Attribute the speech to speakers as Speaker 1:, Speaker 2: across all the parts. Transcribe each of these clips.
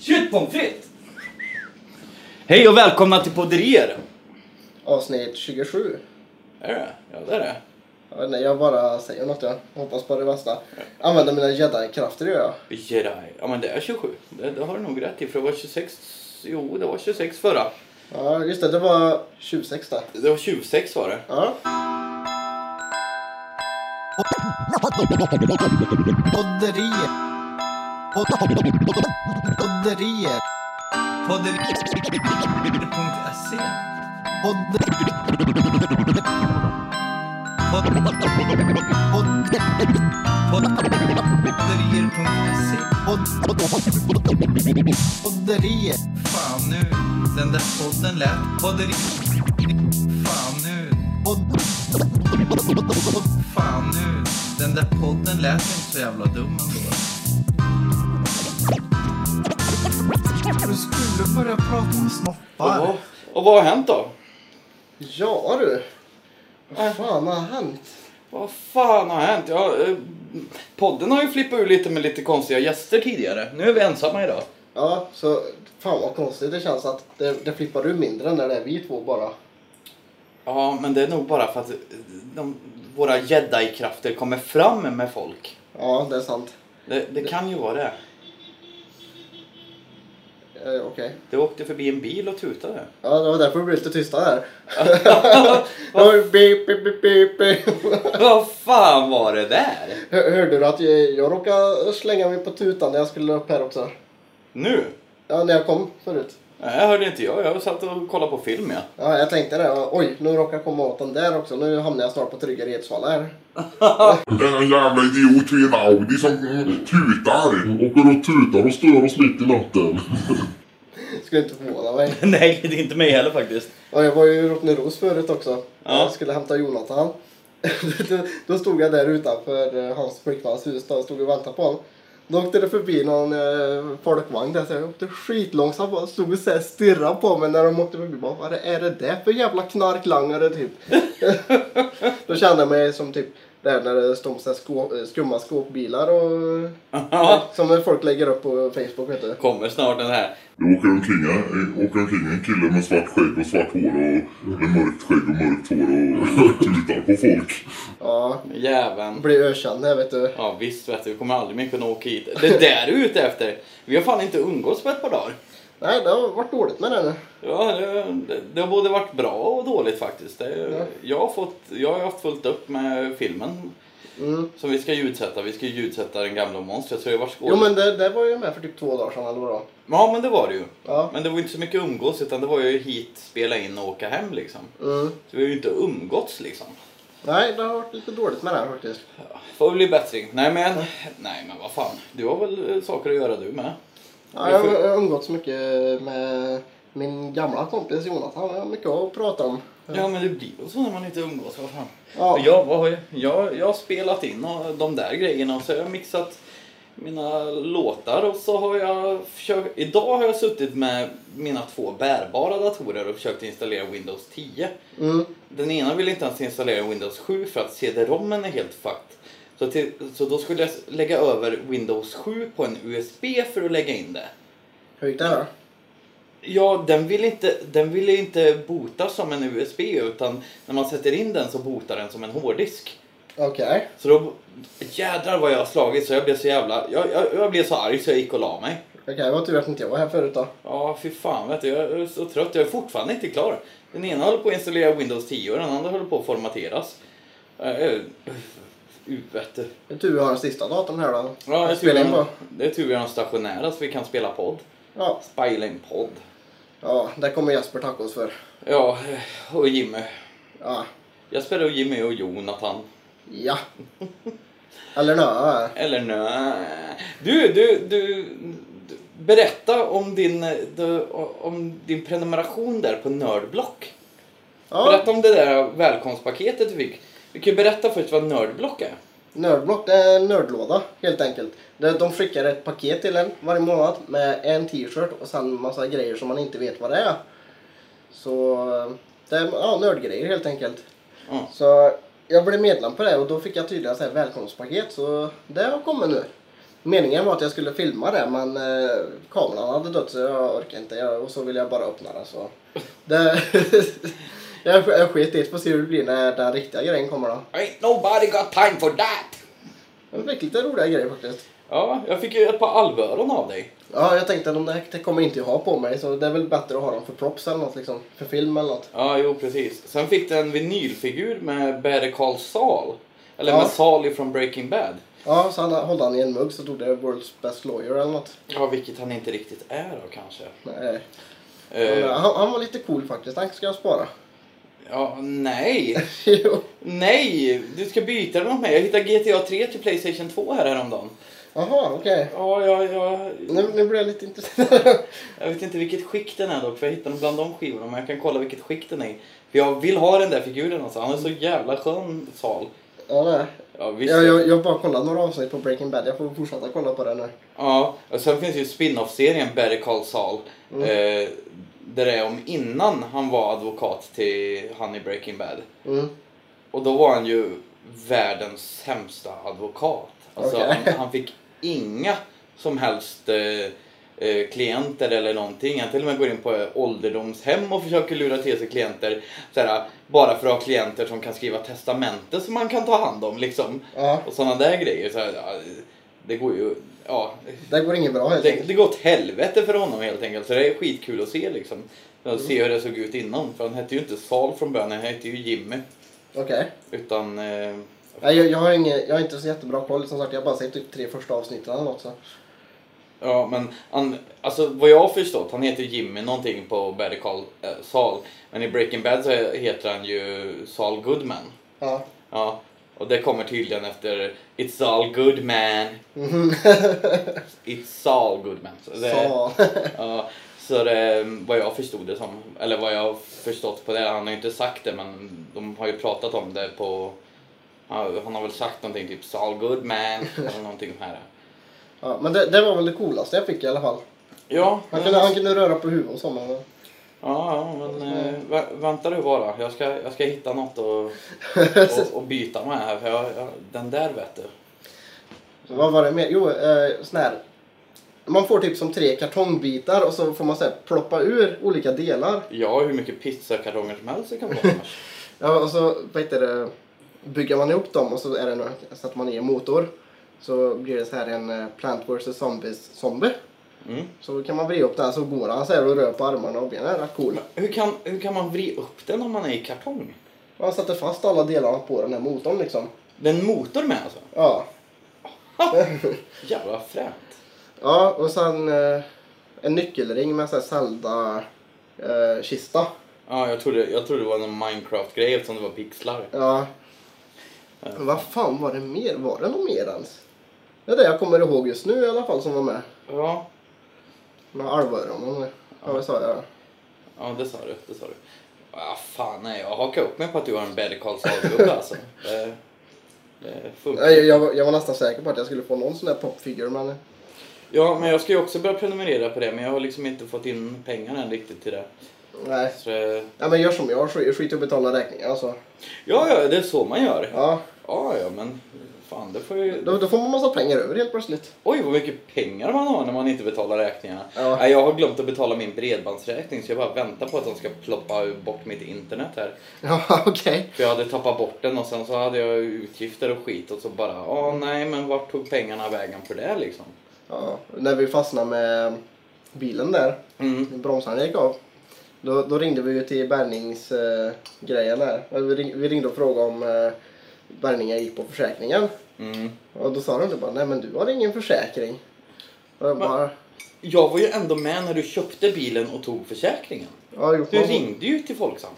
Speaker 1: Köttpommes frites! Hej och välkomna till podderier!
Speaker 2: Avsnitt 27.
Speaker 1: Är det? Ja, det är det.
Speaker 2: Jag vet inte, jag bara säger något jag. Hoppas på det bästa. Använder mina jedi-krafter gör jag.
Speaker 1: Jedi. Ja, men det är 27. Det, det har du nog rätt i, för det var 26... Jo, det var 26 förra.
Speaker 2: Ja, just det. Det var 26 där.
Speaker 1: Det var 26 var det.
Speaker 2: Ja. Podderier. Podderier.
Speaker 3: Podderier.se Podderier.se
Speaker 2: Podderier.
Speaker 3: Fan nu, den där podden lät podderier. Fan nu, fan nu, den där podden lät inte så jävla dum ändå. Du skulle börja prata om snoppar.
Speaker 1: Och, och vad har hänt då?
Speaker 2: Ja du. Vad fan har hänt?
Speaker 1: Vad fan har hänt? Ja, eh, podden har ju flippat ur lite med lite konstiga gäster tidigare. Nu är vi ensamma idag.
Speaker 2: Ja, så fan vad konstigt det känns att det, det flippar ur mindre när det är vi två bara.
Speaker 1: Ja, men det är nog bara för att eh, de, våra jedi-krafter kommer fram med folk.
Speaker 2: Ja, det är sant.
Speaker 1: Det, det kan ju vara det.
Speaker 2: Eh, Okej.
Speaker 1: Det åkte förbi en bil och tutade.
Speaker 2: Ja, det var därför vi blev lite tysta där. Det var ju beep, beep, beep, beep, beep.
Speaker 1: Vad fan var det där?
Speaker 2: Hör- Hörde du att jag, jag råkade slänga mig på tutan när jag skulle upp här också?
Speaker 1: Nu?
Speaker 2: Ja, när jag kom förut.
Speaker 1: Nej, jag hörde inte jag. Jag satt och kollade på film, ja.
Speaker 2: Ja, jag tänkte det. Oj, nu råkar jag komma åt den där också. Nu hamnar jag snart på Trygga Redsvalla här.
Speaker 4: En jävla idiot vid en Audi som eh, tutar. Åker och tutar och stör oss mitt i natten.
Speaker 2: Skulle inte förvåna mig.
Speaker 1: Nej, det är inte mig heller faktiskt.
Speaker 2: Ja, jag var ju i Rottneros förut också.
Speaker 1: Ja.
Speaker 2: Jag skulle hämta Jonathan. Då- Då stod jag där utanför eh, hans flickvans hus då, och stod och väntade på honom. Då åkte det förbi någon eh, folkvagn där så jag åkte skitlångsamt och stod och så här stirrade på mig när de åkte förbi. Bara, Vad är det där för jävla knarklangare typ? Då kände jag mig som typ där när det står så här skå, eh, skumma skåpbilar och som folk lägger upp på Facebook vet du.
Speaker 1: Kommer snart den här.
Speaker 4: Det åker omkring, eh, åker omkring en kille med svart skägg och svart hår och eller mörkt skägg och mörkt hår och tutar på folk.
Speaker 2: Ja,
Speaker 1: Jäveln.
Speaker 2: blir ökänd här vet du.
Speaker 1: Ja visst vet du, vi kommer aldrig mer kunna åka hit. Det där är ute efter. Vi har fan inte umgåtts på ett par dagar.
Speaker 2: Nej, det har varit dåligt med det nu.
Speaker 1: Ja, det, det har både varit bra och dåligt faktiskt. Det,
Speaker 2: Ja.
Speaker 1: jag, har fått, jag har haft fullt upp med filmen
Speaker 2: Mm.
Speaker 1: som vi ska ljudsätta. Vi ska ljudsätta den gamla monstret. Så jag var skåd...
Speaker 2: Jo men det, det var ju med för typ två dagar sedan eller vadå?
Speaker 1: Ja men det var det ju.
Speaker 2: Ja.
Speaker 1: Men det var inte så mycket umgås utan det var ju hit, spela in och åka hem liksom.
Speaker 2: Mm.
Speaker 1: Så vi har ju inte umgåtts liksom.
Speaker 2: Nej, det har varit lite dåligt med det här faktiskt.
Speaker 1: Får väl bli bättring. Nej men, nej men vad fan. Du har väl eh, saker att göra du med?
Speaker 2: Ja, jag har umgåtts mycket med min gamla kompis Jonathan. Jag har mycket att prata om.
Speaker 1: Ja men det blir väl så när man inte umgås, vad fan.
Speaker 2: Ja.
Speaker 1: Jag, vad har jag, jag, jag har spelat in och de där grejerna och så har jag mixat mina låtar och så har jag försökt, idag har jag suttit med mina två bärbara datorer och försökt installera Windows 10.
Speaker 2: Mm.
Speaker 1: Den ena ville inte ens installera Windows 7 för att CD-rommen är helt fucked. Så, till, så då skulle jag s- lägga över Windows 7 på en USB för att lägga in det.
Speaker 2: Hur gick det då?
Speaker 1: Ja, den vill, inte, den vill inte bota som en USB utan när man sätter in den så botar den som en hårddisk.
Speaker 2: Okej.
Speaker 1: Så då, jädrar vad jag har slagit så jag blev så jävla, jag, jag, jag blev så arg så jag gick och la mig.
Speaker 2: Okej, det var tur att inte jag var här förut då.
Speaker 1: Ja, fy fan vet du, jag är så trött, jag är fortfarande inte klar. Den ena håller på att installera Windows 10 och den andra håller på att formateras. Uh, vet du.
Speaker 2: Det är tur vi har den sista datorn här då.
Speaker 1: Ja, det är
Speaker 2: Att
Speaker 1: tur vi
Speaker 2: spela in
Speaker 1: har-
Speaker 2: på.
Speaker 1: det är tur vi har en stationära så vi kan spela podd.
Speaker 2: Ja.
Speaker 1: Spela in podd.
Speaker 2: ja, där kommer Jesper tacka oss för.
Speaker 1: Ja, eh, och Jimmy.
Speaker 2: Ja.
Speaker 1: Jag spelar ju Jimmy och Jonathan.
Speaker 2: Ja. Eller nö.
Speaker 1: Eller nö. Du, du, du, du berätta om din, eh, du, om din prenumeration där på Nördblock.
Speaker 2: Ja.
Speaker 1: Berätta om det där välkomstpaketet du fick. Vi kan ju berätta först vad Nördblock är.
Speaker 2: Nördblock det är en nördlåda helt enkelt. Där De skickar ett paket till en varje månad med en t-shirt och sen massa grejer som man inte vet vad det är. Så det är ja, nördgrejer helt enkelt.
Speaker 1: Ja.
Speaker 2: Så jag blev medlem på det och då fick jag tydligen så här välkomstpaket så det har kommit nu. Meningen var att jag skulle filma det men eh, kameran hade dött så jag orkade inte. Jag, och så ville jag bara öppna den så. Det, jag, sk- jag sket i det. Får se hur det blir när den riktiga grejen kommer då.
Speaker 1: Ain't nobody got time for that!
Speaker 2: Jag fick lite roliga grejer faktiskt.
Speaker 1: Ja, jag fick ju ett par alvöron av dig.
Speaker 2: Ja, jag tänkte att de där det kommer inte jag ha på mig så det är väl bättre att ha dem för props eller något liksom. För film eller något.
Speaker 1: Ja, jo precis. Sen fick du en vinylfigur med Better Call Saul. Eller med
Speaker 2: Ja.
Speaker 1: Saul från Breaking Bad.
Speaker 2: Ja, så han höll han i en mugg så stod det World's Best Lawyer eller något.
Speaker 1: Ja, vilket han inte riktigt är då kanske.
Speaker 2: Nej.
Speaker 1: Eh,
Speaker 2: Men, eh, Han, han var lite cool faktiskt. Han ska jag spara.
Speaker 1: ja, nej.
Speaker 2: jo.
Speaker 1: Nej, du ska byta den mot mig. Jag hittade GTA 3 till Playstation 2 här häromdagen.
Speaker 2: Jaha, okej.
Speaker 1: Ja, ja, ja.
Speaker 2: Nu, nu blir jag lite intresserad.
Speaker 1: Jag vet inte vilket skick den är dock, för jag hittade den bland de skivorna. Men jag kan kolla vilket skick den är i. För jag vill ha den där figuren alltså. Han är så jävla skön, Saul.
Speaker 2: ja, nej.
Speaker 1: Ja, visst.
Speaker 2: Jag, jag, jag har bara kollat några avsnitt på Breaking Bad. Jag får fortsätta kolla på det nu.
Speaker 1: Ja, och sen finns ju spin-off-serien Better Call Saul. Eh, där det är om innan han var advokat till han i Breaking Bad.
Speaker 2: Mm.
Speaker 1: Och då var han ju världens sämsta advokat. Alltså
Speaker 2: Okej.
Speaker 1: han, han fick inga som helst eh, eh, klienter eller någonting. Han till och med går in på eh, ålderdomshem och försöker lura till sig klienter. Såhär, bara för att ha klienter som kan skriva testamente som man kan ta hand om liksom.
Speaker 2: Ja,
Speaker 1: Och sådana där grejer. Så här, ja, det går ju... Ja,
Speaker 2: det går inget bra helt
Speaker 1: det,
Speaker 2: enkelt.
Speaker 1: det går åt helvete för honom helt enkelt. Så det är skitkul att se liksom. Att
Speaker 2: Mm.
Speaker 1: se hur det såg ut innan. För han hette ju inte Sal från början, han hette ju Jimmy.
Speaker 2: Okej.
Speaker 1: Utan... Eh,
Speaker 2: Nej, Jag, jag, har ingen- jag har inte så jättebra koll. Som sagt, jag har bara sett typ tre första avsnitten eller något. Så.
Speaker 1: ja men han, alltså vad jag har förstått, han heter Jimmy någonting på Better Call eh, Sal. Men i Breaking Bad så heter han ju Sal Goodman.
Speaker 2: Ja.
Speaker 1: Ja. Och det kommer tydligen efter It's all good man.
Speaker 2: Mhm.
Speaker 1: It's all good man. Så det,
Speaker 2: Så.
Speaker 1: Ja, så det, vad jag förstod det som, eller vad jag har förstått på det, han har ju inte sagt det men de har ju pratat om det på, han han har väl sagt någonting typ Saul Goodman eller någonting här.
Speaker 2: ja, men det, det var väl det coolaste jag fick i alla fall.
Speaker 1: Ja,
Speaker 2: Han
Speaker 1: men-
Speaker 2: kunde, han kunde röra på huvudet och så. Men...
Speaker 1: ja, ja men eh, vä- vänta du bara, jag ska, jag ska hitta något och, och, och byta med här för jag, jag, den där vet du.
Speaker 2: Vad var det mer? Jo, eh, sån här. Man får typ som tre kartongbitar och så får man så här, ploppa ur olika delar.
Speaker 1: Jag har hur mycket pizzakartonger som helst det kan vara annars.
Speaker 2: Ja, och så vad heter det, bygger man ihop dem och så är det några, sätter man i en motor. Så blir det så här en eh, Plant vs Zombies zombie.
Speaker 1: Mm.
Speaker 2: Så kan man vrida upp den så går han så här och rör på armarna och benen. Det är rätt cool.
Speaker 1: Hur kan, hur kan man vrida upp den om man är i kartong?
Speaker 2: Man sätter fast alla delarna på den här motorn liksom.
Speaker 1: Det är en motor med alltså?
Speaker 2: Ja.
Speaker 1: Jävla fränt.
Speaker 2: Ja, och sen eh, en nyckelring med så här Zelda eh, kista.
Speaker 1: Ja, jag trodde, jag trodde det var en Minecraft-grej eftersom det var pixlar.
Speaker 2: Ja. Men vad fan var det mer? Var det något mer ens? Det är det jag kommer ihåg just nu i alla fall som var med.
Speaker 1: Ja,
Speaker 2: Med alvöron. Ja, vad sa jag?
Speaker 1: ja det sa du. Det sa du. Ah, fan, nej, jag hakar upp mig på att du har en Better Call Saul-gubbe alltså. Det, det funkar.
Speaker 2: Nej, Jag, jag, var- jag var nästan säker på att jag skulle få någon sån där popfigur men...
Speaker 1: Ja, men jag ska ju också börja prenumerera på det, men jag har liksom inte fått in pengarna än riktigt till det.
Speaker 2: Nej.
Speaker 1: Så, eh, det-
Speaker 2: Ja, men gör som jag, skit skit i att betala räkningar alltså.
Speaker 1: ja, ja, det är så man gör.
Speaker 2: Ja,
Speaker 1: Ja, ja, men fan, det får ju...
Speaker 2: då, då får man massa pengar över helt plötsligt.
Speaker 1: Oj, vad mycket pengar man har när man inte betalar räkningarna.
Speaker 2: Ja.
Speaker 1: Nej, jag har glömt att betala min bredbandsräkning, så jag bara väntar på att de ska ploppa bort mitt internet här.
Speaker 2: Ja, okej.
Speaker 1: För jag hade tappat bort den och sen så hade jag utgifter och skit och så bara, ja nej men vart tog pengarna vägen för det liksom?
Speaker 2: Ja, när vi fastnade med bilen där,
Speaker 1: Mm.
Speaker 2: bromsarna gick av. Då, då ringde vi ju till bärgningsgrejen där. Eller Vi, ring, vi ringde och frågade om eh, bärgningen gick på försäkringen.
Speaker 1: Mm.
Speaker 2: Och då sa de det bara, nej men du har ingen försäkring. Och jag bara,
Speaker 1: Jag var ju ändå med när du köpte bilen och tog försäkringen.
Speaker 2: ja, gjort
Speaker 1: Du
Speaker 2: man-
Speaker 1: ringde ju till Folksam.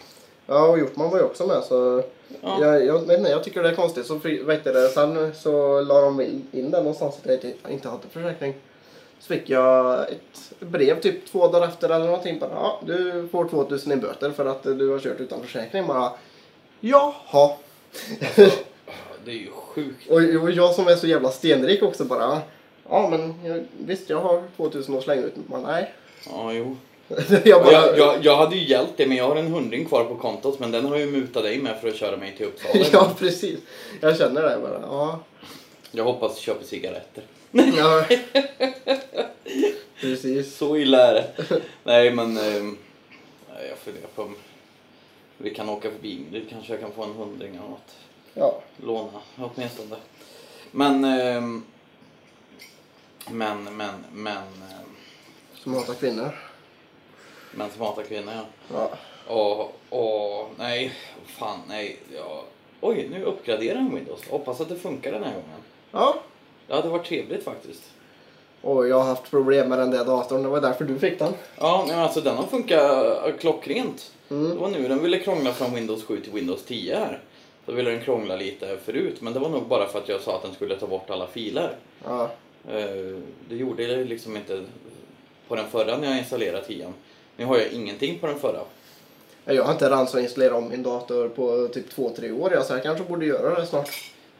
Speaker 2: Ja, och Hjortman var ju också med så
Speaker 1: Ja.
Speaker 2: jag, jag, vet inte, jag tycker det är konstigt. Så, fri- vet du det, sen så la de in in den någonstans att jag inte- inte hade försäkring. Så fick jag ett brev typ två dagar efter eller någonting. Bara, ja, du får 2000 i böter för att eh, du har kört utan försäkring. Bara, jaha.
Speaker 1: Det är ju sjukt.
Speaker 2: Och, och jag som är så jävla stenrik också bara. Ja men jag, visst jag har 2000 att slänga ut. Men nej.
Speaker 1: Ja, jo.
Speaker 2: jag bara,
Speaker 1: Jag, jag, jag hade ju hjälpt dig men jag har en hundring kvar på kontot men den har jag ju mutat dig med för att köra mig till Uppsala.
Speaker 2: ja precis. Jag känner det bara. Ja.
Speaker 1: Jag hoppas du köper cigaretter.
Speaker 2: Ja. Precis.
Speaker 1: Så illa är det. Nej, men... ehm, nej, jag funderar på om vi kan åka förbi Ingrid. Kanske jag kan få en hundring eller något.
Speaker 2: Ja.
Speaker 1: Låna åtminstone. Men... ehm, men, men, men... ehm,
Speaker 2: Som hatar kvinnor.
Speaker 1: men som hatar kvinnor, ja.
Speaker 2: Ja.
Speaker 1: Åh, åh, nej. Fan, nej. Ja. Oj, nu uppgraderar den Windows. Hoppas att det funkar den här gången.
Speaker 2: ja.
Speaker 1: Det hade varit trevligt faktiskt.
Speaker 2: Och jag har haft problem med den där datorn. Det var därför du fick den.
Speaker 1: Ja, nej, men alltså den har funkat äh, klockrent.
Speaker 2: Mm.
Speaker 1: Det var nu den ville krångla från Windows 7 till Windows 10 här. Då ville den krångla lite förut, men det var nog bara för att jag sa att den skulle ta bort alla filer.
Speaker 2: Ja.
Speaker 1: Eh, Det gjorde det liksom inte på den förra när jag installerade 10. Nu har jag ingenting på den förra.
Speaker 2: Jag har inte rans att installera om min dator på typ två tre år. ja, Så jag kanske borde göra det snart.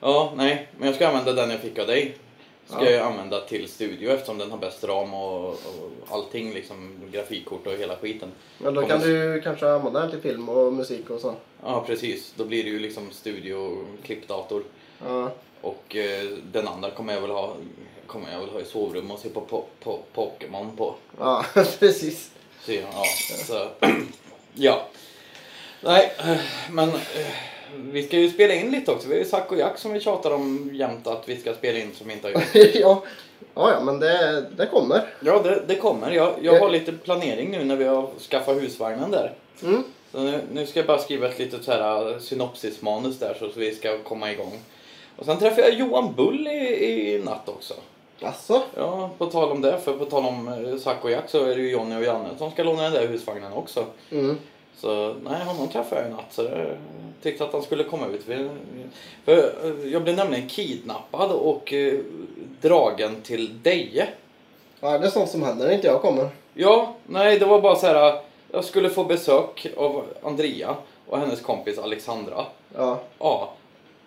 Speaker 1: Ja, nej, men jag ska använda den jag fick av dig. Ska
Speaker 2: Ja.
Speaker 1: jag använda till studio eftersom den har bäst ram och, och allting, liksom grafikkort och hela skiten.
Speaker 2: Men då
Speaker 1: Om
Speaker 2: kan
Speaker 1: jag-
Speaker 2: du kanske använda den till film och musik och sånt.
Speaker 1: Ja, precis. Då blir det ju liksom studio, klippdator.
Speaker 2: Ja.
Speaker 1: Och eh, den andra kommer jag väl ha kommer jag väl ha i sovrummet och se på, po- po- Pokémon på.
Speaker 2: Ja, precis.
Speaker 1: Så, ja, så, ja. Nej, eh, men eh, vi ska ju spela in lite också. Vi har ju Zack och Jack som vi tjatar om jämt att vi ska spela in som inte har gjort.
Speaker 2: ja. ja, ja, men det, det kommer.
Speaker 1: Ja, det, det kommer. Jag, jag har lite planering nu när vi har skaffat husvagnen där.
Speaker 2: Mm.
Speaker 1: Så nu, nu ska jag bara skriva ett litet så här eh, synopsismanus där så att vi ska komma igång. Och sen träffade jag Johan Bull i, i natt också.
Speaker 2: Alltså,
Speaker 1: Ja, på tal om det, för på tal om eh, Zack och Jack så är det ju Jonny och Janne som ska låna den där husvagnen också.
Speaker 2: mm.
Speaker 1: Så nej, honom träffade jag i natt så jag tyckte att han skulle komma ut. Vi- För eh, jag blev nämligen kidnappad och eh, dragen till Deje.
Speaker 2: Ja, det är sånt som händer när inte jag kommer.
Speaker 1: Ja, nej det var bara så här. Jag skulle få besök av Andrea och hennes kompis Alexandra.
Speaker 2: Ja.
Speaker 1: Ja.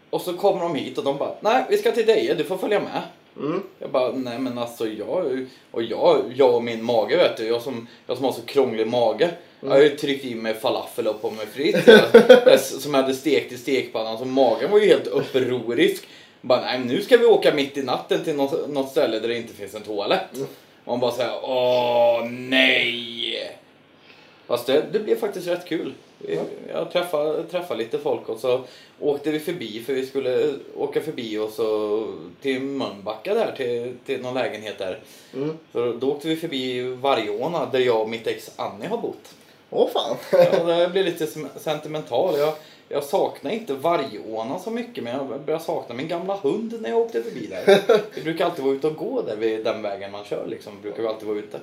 Speaker 1: Och så kommer de hit och de bara, nej vi ska till dig, du får följa med.
Speaker 2: Mm.
Speaker 1: Jag bara, nej men alltså jag och, jag, jag och min mage vet du, jag som, jag som har så krånglig mage. Jag har ju tryckt i mig falafel och pommes frites jag- jag- som jag hade stekt i stekpannan så magen var ju helt upprorisk. Bara, nej men nu ska vi åka mitt i natten till något, något ställe där det inte finns en toalett. Man bara såhär, åh nej! Fast det, det blev faktiskt rätt kul. Vi- Jag träffade, träffade lite folk och så åkte vi förbi för vi skulle åka förbi och så till Mölnbacka där, till, till någon lägenhet där.
Speaker 2: Mm.
Speaker 1: Så då åkte vi förbi Vargåna där jag och mitt ex Annie har bott.
Speaker 2: Åh fan.
Speaker 1: Ja, det blev lite sem- sentimental. Jag, jag saknar inte Vargåna så mycket men jag börjar sakna min gamla hund när jag åkte förbi där. Vi brukar alltid vara ute och gå där vid den vägen man kör liksom. Brukar vi alltid vara ute.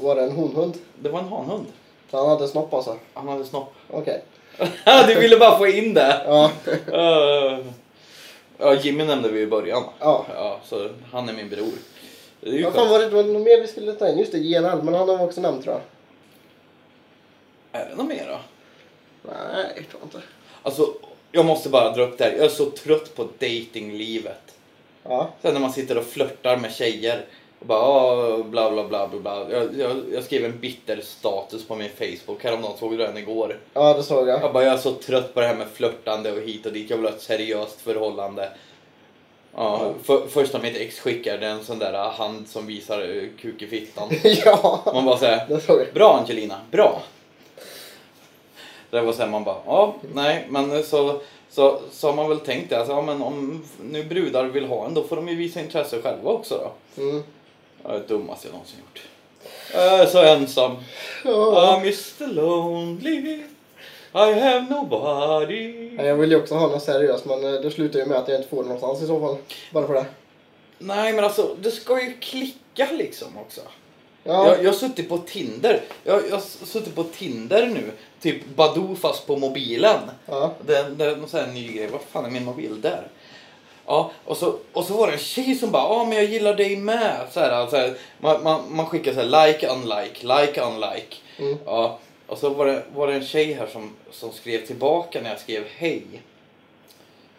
Speaker 2: Var det en honhund?
Speaker 1: Det var en hanhund.
Speaker 2: Han hade snopp alltså?
Speaker 1: Han hade snopp.
Speaker 2: Okej.
Speaker 1: du ville bara få in det.
Speaker 2: Ja.
Speaker 1: Eh, Ja, Jimmy nämnde vi i början.
Speaker 2: Ja.
Speaker 1: Ja, så han är min bror. Det är ju
Speaker 2: Vad
Speaker 1: skönt.
Speaker 2: fan var det, det var något mer vi skulle ta in? Just det, GNL. Men han har vi också nämnt tror jag.
Speaker 1: Är det något mer då?
Speaker 2: Nej, jag tror inte.
Speaker 1: Alltså, jag måste bara dra upp det här. Jag är så trött på datinglivet.
Speaker 2: Ja.
Speaker 1: Sen när man sitter och flörtar med tjejer och bara "Ah, bla bla bla bla bla. Jag, jag, jag skrev en bitter status på min Facebook häromdagen, såg du den igår?
Speaker 2: Ja, det såg jag.
Speaker 1: Jag bara, jag är så trött på det här med flörtande och hit och dit. Jag vill ha ett seriöst förhållande. Ja, för, först när mitt ex skickade en sån där äh, hand som visar eh, kuk i fittan.
Speaker 2: ja.
Speaker 1: Man bara säger
Speaker 2: Det såg jag.
Speaker 1: Bra Angelina, bra. Det var så här, man bara, ja, nej, men äh, så, så, så har man väl tänkt det. Alltså, ja, men om nu brudar vill ha en, då får de ju visa intresse själva också då.
Speaker 2: Mm.
Speaker 1: Ja, Det är det dummaste jag någonsin gjort. Jag är så ensam.
Speaker 2: Ja.
Speaker 1: I'm Mr Lonely. I have nobody.
Speaker 2: Nej, Jag vill ju också ha något seriöst men eh, det slutar ju med att jag inte får någonstans i så fall. Bara för det.
Speaker 1: Nej, men alltså, det ska ju klicka liksom också.
Speaker 2: Ja.
Speaker 1: Jag, jag har suttit på Tinder. Jag, jag har suttit på Tinder nu. Typ Badoo fast på mobilen.
Speaker 2: Ja.
Speaker 1: Det, det är någon sån här ny grej. Vad fan är min mobil där? Ja, och så, och så var det en tjej som bara ja men jag gillar dig med. Så här, så här, man, man, man skickar så här like, unlike, like, unlike.
Speaker 2: Mm.
Speaker 1: Ja, och så var det, var det en tjej här som, som skrev tillbaka när jag skrev hej.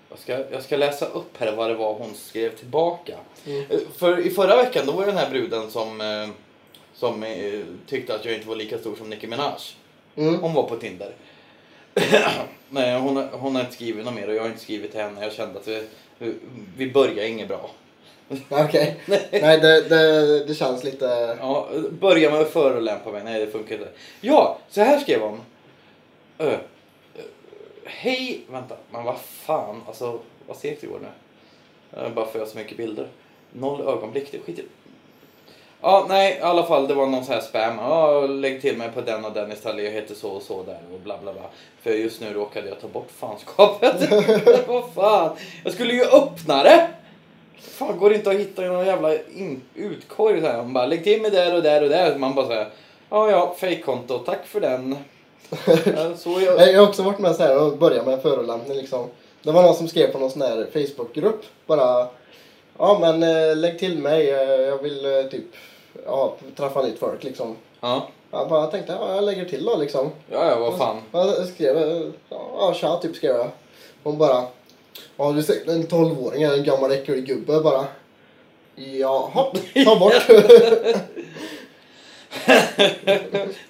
Speaker 1: Jag ska, jag ska läsa upp här vad det var hon skrev tillbaka.
Speaker 2: Mm.
Speaker 1: Eh, För i förra veckan då var det den här bruden som, eh, som eh, tyckte att jag inte var lika stor som Nicki Minaj.
Speaker 2: Mm.
Speaker 1: Hon var på Tinder. Nej, hon, har- hon har inte skrivit något mer och jag har inte skrivit till henne. Jag kände att vi, vi börjar inget bra.
Speaker 2: Nej, Okej. Nej, det, det, det känns lite...
Speaker 1: Ja, börja med att förolämpa mig. Nej, det funkar inte. Ja, så här skrev hon. Ö, ö, hej, vänta, men vad fan, alltså vad segt det går nu. Ö, bara för jag har så mycket bilder. Noll ögonblick, det skiter Ja, nej, i alla fall det var någon sån här spam. Ja, lägg till mig på den och den istället. Jag heter så och så där och bla bla bla. För just nu råkade jag ta bort fanskapet. Vad fan. Jag skulle ju öppna det! Fan, går det inte att hitta i någon jävla in- utkorg så här? Man bara, lägg till mig där och där och där. Man bara säger, ja ja, fejkkonto, tack för den. Ja, så jag...
Speaker 2: Nej, Jag har också varit med så här och börjat med en förolämpning liksom. Det var någon som skrev på någon sån här Facebookgrupp bara Ja men eh, lägg till mig, eh, jag vill eh, typ ja, träffa nytt folk liksom.
Speaker 1: Ja,
Speaker 2: Jag bara tänkte ja, jag lägger till då liksom.
Speaker 1: ja, ja vad fan.
Speaker 2: Jag skrev eh, ja tja typ skrev jag. Hon bara Ja du är säkert en 12-åring eller en gammal äcklig gubbe bara. Jaha, ta bort.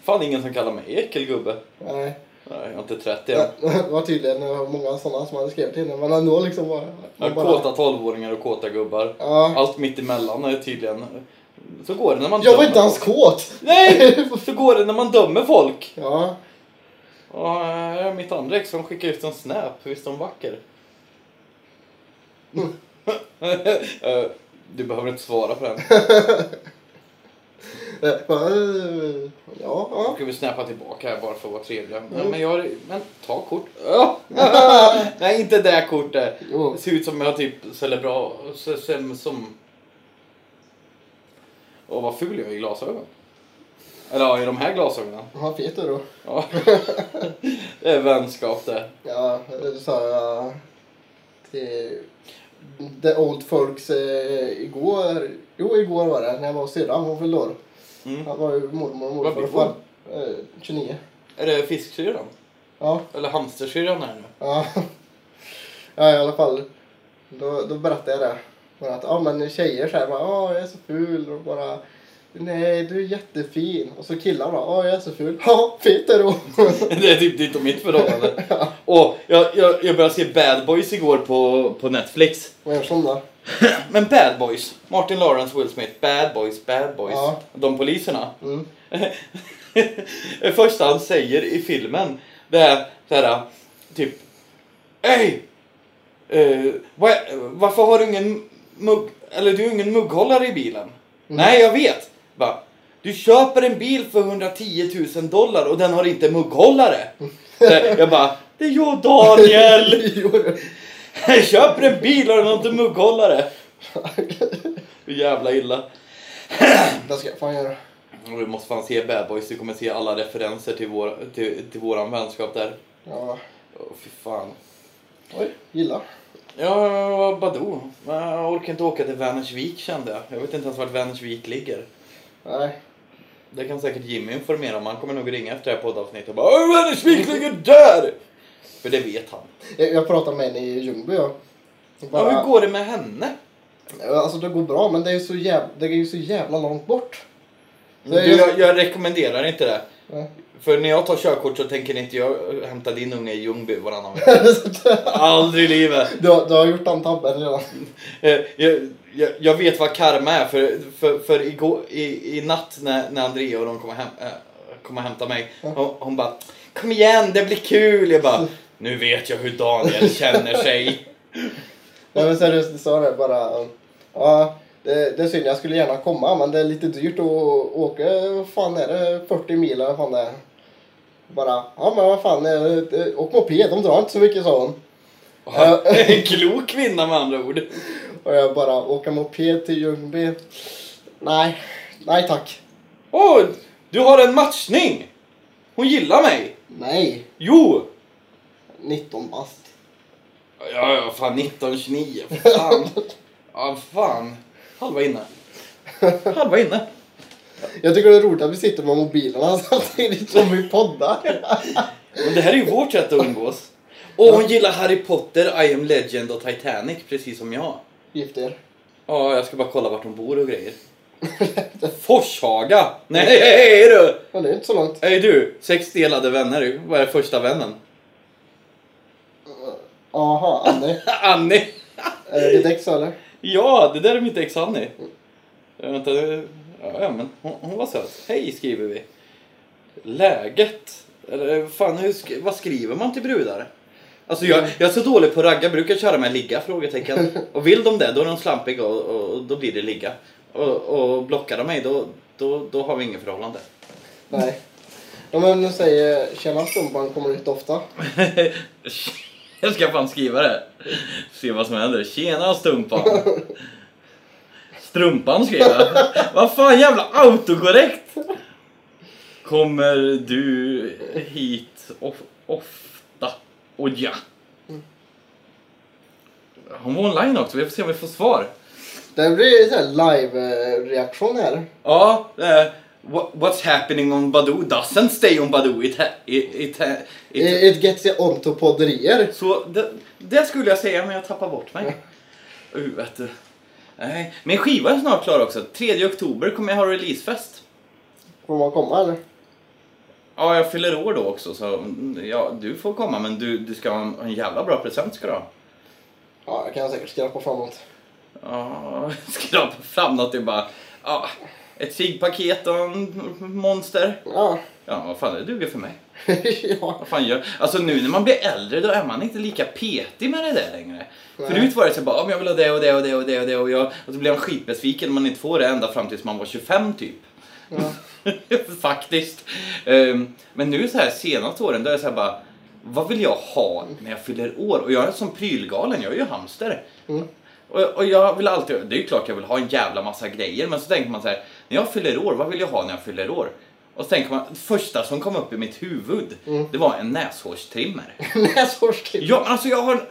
Speaker 1: Fan, ingen som kallar mig äckelgubbe.
Speaker 2: Nej,
Speaker 1: Nej, jag är inte 30 än.
Speaker 2: det var tydligen eh, många sådana som hade skrivit till henne men ändå liksom bara.
Speaker 1: Jag har kåta 12-åringar och kåta gubbar.
Speaker 2: Ja.
Speaker 1: Allt mitt emellan är tydligen... Så går det när man
Speaker 2: Jag var
Speaker 1: dömer
Speaker 2: inte ens
Speaker 1: folk.
Speaker 2: kåt!
Speaker 1: Nej! Så går det när man dömer folk.
Speaker 2: Ja,
Speaker 1: Och här är mitt andra ex som skickade ut en snap. Visst är hon vacker? Eh, du behöver inte svara på den.
Speaker 2: eh, eh,
Speaker 1: Då
Speaker 2: ja, ja.
Speaker 1: ska vi snappa tillbaka här bara för att vara trevliga.
Speaker 2: Mm.
Speaker 1: Ja, men jag... Men ta kort. Ah! Nej, inte det här kortet.
Speaker 2: Jo.
Speaker 1: Det ser ut som jag typ celebra... se- se- Som... Åh, vad ful jag är i glasögon. Eller ja, i de här glasögonen.
Speaker 2: Han fet är då.
Speaker 1: Ja. det är vänskap det.
Speaker 2: Ja, det sa jag till Eh, the old folks eh, igår. Jo, igår var det, när jag var hos syrran. Hon fyllde år.
Speaker 1: Mm.
Speaker 2: Han var ju mormor och
Speaker 1: Vad
Speaker 2: morfar
Speaker 1: blir
Speaker 2: och far. Eh, 29.
Speaker 1: Är det fisksyrran?
Speaker 2: Ja,
Speaker 1: Eller hamstersyrran här nu?
Speaker 2: ja. ja, i alla fall. Då, då berättade jag det. Bara att, ja men tjejer såhär bara, ja jag är så ful och bara, nej du är jättefin. Och så killar bara, ja jag är så ful. Ja, fet är du.
Speaker 1: Det är typ ditt och mitt förhållande. Och jag, jag, jag började se Bad Boys igår på, på Netflix.
Speaker 2: Vad gör sån där?
Speaker 1: Men Bad Boys, Martin Lawrence, Will Smith, Bad Boys, Bad Boys.
Speaker 2: Ja.
Speaker 1: De poliserna.
Speaker 2: Mm.
Speaker 1: det första han säger i filmen, det är såhär, typ Ey! Eh, va, varför har du ingen mugg... Eller du har ingen mugghållare i bilen?
Speaker 2: Mm.
Speaker 1: Nej, jag vet! Bara, du köper en bil för 110 000 dollar och den har inte mugghållare. Så jag bara, det är jag Daniel!
Speaker 2: Jo, det-
Speaker 1: Jag köper en bil och den har inte mugghållare. Hur jävla illa.
Speaker 2: det ska jag fan göra.
Speaker 1: Och Du måste fan se Bad Boys, du kommer se alla referenser till, vår, till, till våran vänskap där.
Speaker 2: Ja.
Speaker 1: Åh fy fan.
Speaker 2: Oj, gilla.
Speaker 1: Ja, Badoo. Men Jag orkar inte åka till Vänersvik kände jag. Jag vet inte ens vart Vänersvik ligger.
Speaker 2: Nej.
Speaker 1: Det kan säkert Jimmy informera om. Han kommer nog ringa efter det här poddavsnittet och bara "Åh, Vänersvik ligger där! För det vet han.
Speaker 2: Jag, jag pratade med henne i Ljungby. Jag.
Speaker 1: Ja,
Speaker 2: Bara,
Speaker 1: hur går det med henne?
Speaker 2: Alltså det går bra men det är ju så jävla, det är ju så jävla långt bort. Det är
Speaker 1: Du,
Speaker 2: ju-
Speaker 1: jag, jag rekommenderar inte det.
Speaker 2: Nej.
Speaker 1: För när jag tar körkort så tänker inte jag eh, hämta din unge i Ljungby varannan vecka. Aldrig i livet!
Speaker 2: du, har- du har gjort den tabben redan.
Speaker 1: Eh, jag, jag, jag vet vad karma är för, för, för igår, i, i natt när, när Andrea och de kommer hem, äh, kom och hämta mig. Hon, hon bara Kom igen det blir kul! Jag bara Nu vet jag hur Daniel känner sig.
Speaker 2: Nej men seriöst, du sa det bara. Ja, det, det är synd, jag skulle gärna komma men det är lite dyrt att åka, vad fan är det, 40 mil eller vad fan det är. Bara, ja men vad fan, eh, eh, åk moped, de drar inte så mycket sa hon.
Speaker 1: Ja, En klok kvinna med andra ord.
Speaker 2: Och jag bara, åka moped till Ljungby? Nej, nej tack.
Speaker 1: Åh, du har en matchning! Hon gillar mig!
Speaker 2: Nej,
Speaker 1: Jo!
Speaker 2: 19 bast.
Speaker 1: Ja, ja, fan 1929, för fan. Ja, fan. Halva inne. Halva inne.
Speaker 2: Jag tycker det är roligt att vi sitter med mobilerna samtidigt som vi poddar.
Speaker 1: Men det här är ju vårt sätt att umgås. Och hon gillar Harry Potter, I am Legend och Titanic precis som jag.
Speaker 2: Gift er.
Speaker 1: Ja, jag ska bara kolla vart hon bor och grejer. Forshaga! Nej, hej, hej du!
Speaker 2: Ja, det är inte så långt.
Speaker 1: Hej du! Sex delade vänner, du. vad är första vännen?
Speaker 2: Aha, Annie.
Speaker 1: Annie!
Speaker 2: Är det ditt ex eller?
Speaker 1: Ja, det där är mitt ex Hanni. Eh, Vänta, det- ja, ja, men hon, hon var söt. Hej skriver vi. Läget? Eller eh, fan, hur sk- vad skriver man till brudar? Alltså jag, jag är så dålig på att ragga, brukar köra med ligga? Frågetecken. Och vill de det, då är de slampiga och, och, och då blir det ligga. Och, och blockar de mig, då, då, då har vi ingen förhållande.
Speaker 2: Nej. Om man nu säger “Tjena Stumpan” kommer ut ofta.
Speaker 1: Jag ska fan skriva det. Se vad som händer. Tjena stumpan. Strumpan skrev jag. Vad fan jävla autokorrekt. Kommer du hit of- ofta? Och ja. Hon var online också. Vi får se om vi får svar.
Speaker 2: Det blir så här live-reaktion här.
Speaker 1: Ja, eh, what, what's happening on Badoo doesn't stay on Badoo. It, ha, it, it, ha- it,
Speaker 2: It, it gets you onto podderier.
Speaker 1: Så det, det skulle jag säga, men jag tappar bort mig. Uh, vet du. Nej. Min skiva är snart klar också. 3 oktober kommer jag ha releasefest.
Speaker 2: Får man komma eller?
Speaker 1: Ja, jag fyller år då också, så mm, ja, du får komma, men du, du ska ha en, en jävla bra present ska du ha.
Speaker 2: Ja, jag kan säkert skrapa framåt.
Speaker 1: Ja, skrapa fram något, det är bara... Ja, ett cigpaket och en monster.
Speaker 2: Ja.
Speaker 1: Ja, vad fan, det duger för mig.
Speaker 2: ja.
Speaker 1: Vad fan gör... Alltså nu när man blir äldre då är man inte lika petig med det där längre.
Speaker 2: Nej.
Speaker 1: Förut var det så bara, om jag vill ha det och det och det och det och det och jag... Och så blev man skitbesviken om man inte får det ända fram tills man var 25 typ.
Speaker 2: ja.
Speaker 1: Faktiskt. Ehm, men nu så här senaste åren då är det så här bara, vad vill jag ha när jag fyller år? Och jag är som prylgalen, jag är ju hamster.
Speaker 2: Mm.
Speaker 1: Och, och jag vill alltid, det är ju klart jag vill ha en jävla massa grejer, men så tänker man så här, när jag fyller år, vad vill jag ha när jag fyller år? Och så tänker man, det första som kom upp i mitt huvud, det var en näshårstrimmer.
Speaker 2: Näshårsklipp.
Speaker 1: Ja, men alltså jag har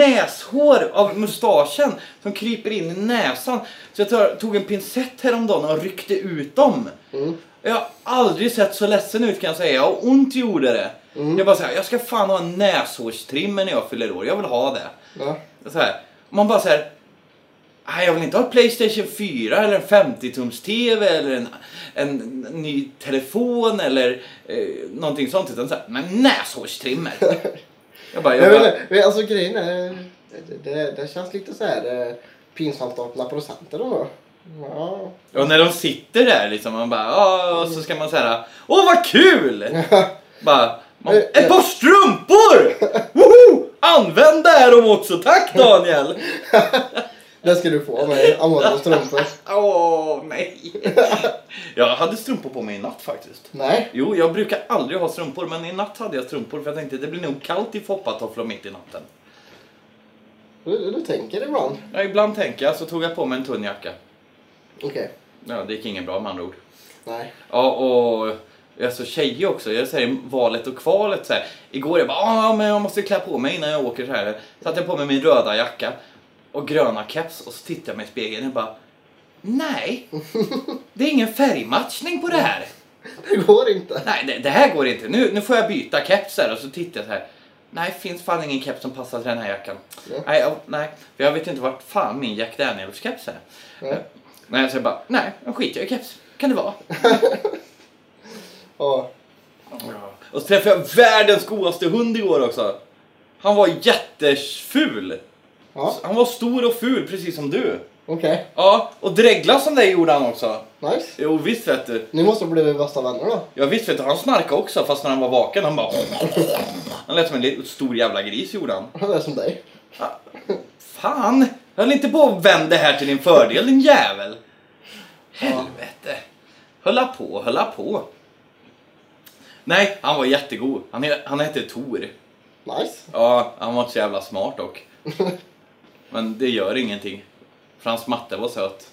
Speaker 1: näshår av mustaschen som kryper in i näsan. Så jag tar, tog en pincett häromdagen och ryckte ut dem. Jag har aldrig sett så ledsen ut kan jag säga och ont gjorde det. Jag bara såhär, jag ska fan ha en näshårstrimmer när jag fyller år. Jag vill ha det.
Speaker 2: Ja.
Speaker 1: Så här. Och Man bara såhär, nej jag vill inte ha ett Playstation 4 eller en 50-tums-TV eller en, en ny telefon eller eh, någonting sånt. Utan såhär, men näshårstrimmer. jag bara, jag
Speaker 2: Jag
Speaker 1: bara,
Speaker 2: vet inte, men alltså grejen är, det, det, det känns lite så här eh, pinsamt att öppna presenter då. Ja.
Speaker 1: Och när de sitter där liksom, man bara "Ja", och så ska man säga Åh vad kul! bara, man,
Speaker 2: Eh, eh.
Speaker 1: ett par strumpor! Woho! Använd det här om också, tack Daniel!
Speaker 2: Det ska du få av mig, Amanda strumpor.
Speaker 1: Åh nej! jag hade strumpor på mig i natt faktiskt.
Speaker 2: Nej,
Speaker 1: Jo, jag brukar aldrig ha strumpor, men i natt hade jag strumpor för jag tänkte det blir nog kallt i foppatofflor mitt i natten.
Speaker 2: du, du tänker ibland.
Speaker 1: Ja, ibland tänker jag, så tog jag på mig en tunn jacka.
Speaker 2: Okej,
Speaker 1: Ja, det gick inget bra med andra ord.
Speaker 2: nej.
Speaker 1: Ja, och alltså tjejer också. Jag säger valet och kvalet så här. Igår jag bara, "Ah, men jag måste klä på mig innan jag åker så här. Satte jag på mig min röda jacka och gröna keps och så tittade jag mig i spegeln och bara, nej, det är ingen färgmatchning på det här.
Speaker 2: Det går inte.
Speaker 1: Nej, det, det här går inte. Nu, nu får jag byta keps här och så tittar jag så här. Nej, finns fan ingen keps som passar till den här jackan.
Speaker 2: Ja.
Speaker 1: Nej, jag, nej, för jag vet inte vart fan min Jack Daniels-keps är.
Speaker 2: Ja.
Speaker 1: Nej, så jag bara, nej, jag skiter i keps. Kan det vara.
Speaker 2: Ja.
Speaker 1: Och så träffade jag världens godaste hund igår också. Han var jätteful.
Speaker 2: Ja,
Speaker 1: Han var stor och ful, precis som du.
Speaker 2: okej.
Speaker 1: Ja, och dregla som dig gjorde han också.
Speaker 2: Nice.
Speaker 1: Jo, visst vet du.
Speaker 2: Ni måste bli bästa vänner då.
Speaker 1: Ja, visst vet du. Han snarkade också, fast när han var vaken. Han bara... Han lät som en li- stor jävla gris, gjorde han.
Speaker 2: Det är som dig.
Speaker 1: Fan! Höll inte på och vänd det här till din fördel, din jävel. Helvete. Hölla på, hölla på. Nej, han var jättegod. Han, he- han hette Tor.
Speaker 2: Nice.
Speaker 1: Ja, han var inte så jävla smart dock. Men det gör ingenting. För hans matte var söt.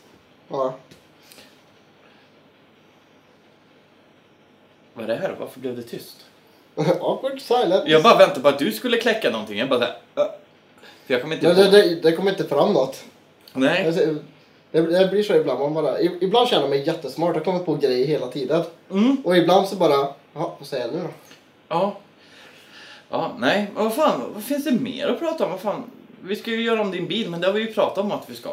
Speaker 2: Ja.
Speaker 1: Vad är det här? Varför blev det tyst?
Speaker 2: Awkward silence.
Speaker 1: Jag bara väntade på att du skulle kläcka någonting. Jag bara såhär... "Ö." För jag kommer inte
Speaker 2: Det, det,
Speaker 1: på...
Speaker 2: det, det kommer inte fram något.
Speaker 1: Nej.
Speaker 2: Alltså, Det, det blir så ibland. Man bara, i- ibland känner jag mig jättesmart. Jag kommer på grejer hela tiden.
Speaker 1: Mm.
Speaker 2: Och ibland så bara, jaha, vad säger jag nu då?
Speaker 1: Ja. Ja, nej. Men Vad fan, vad finns det mer att prata om? Vad fan? Vi ska ju göra om din bil, men det har vi ju pratat om att vi ska.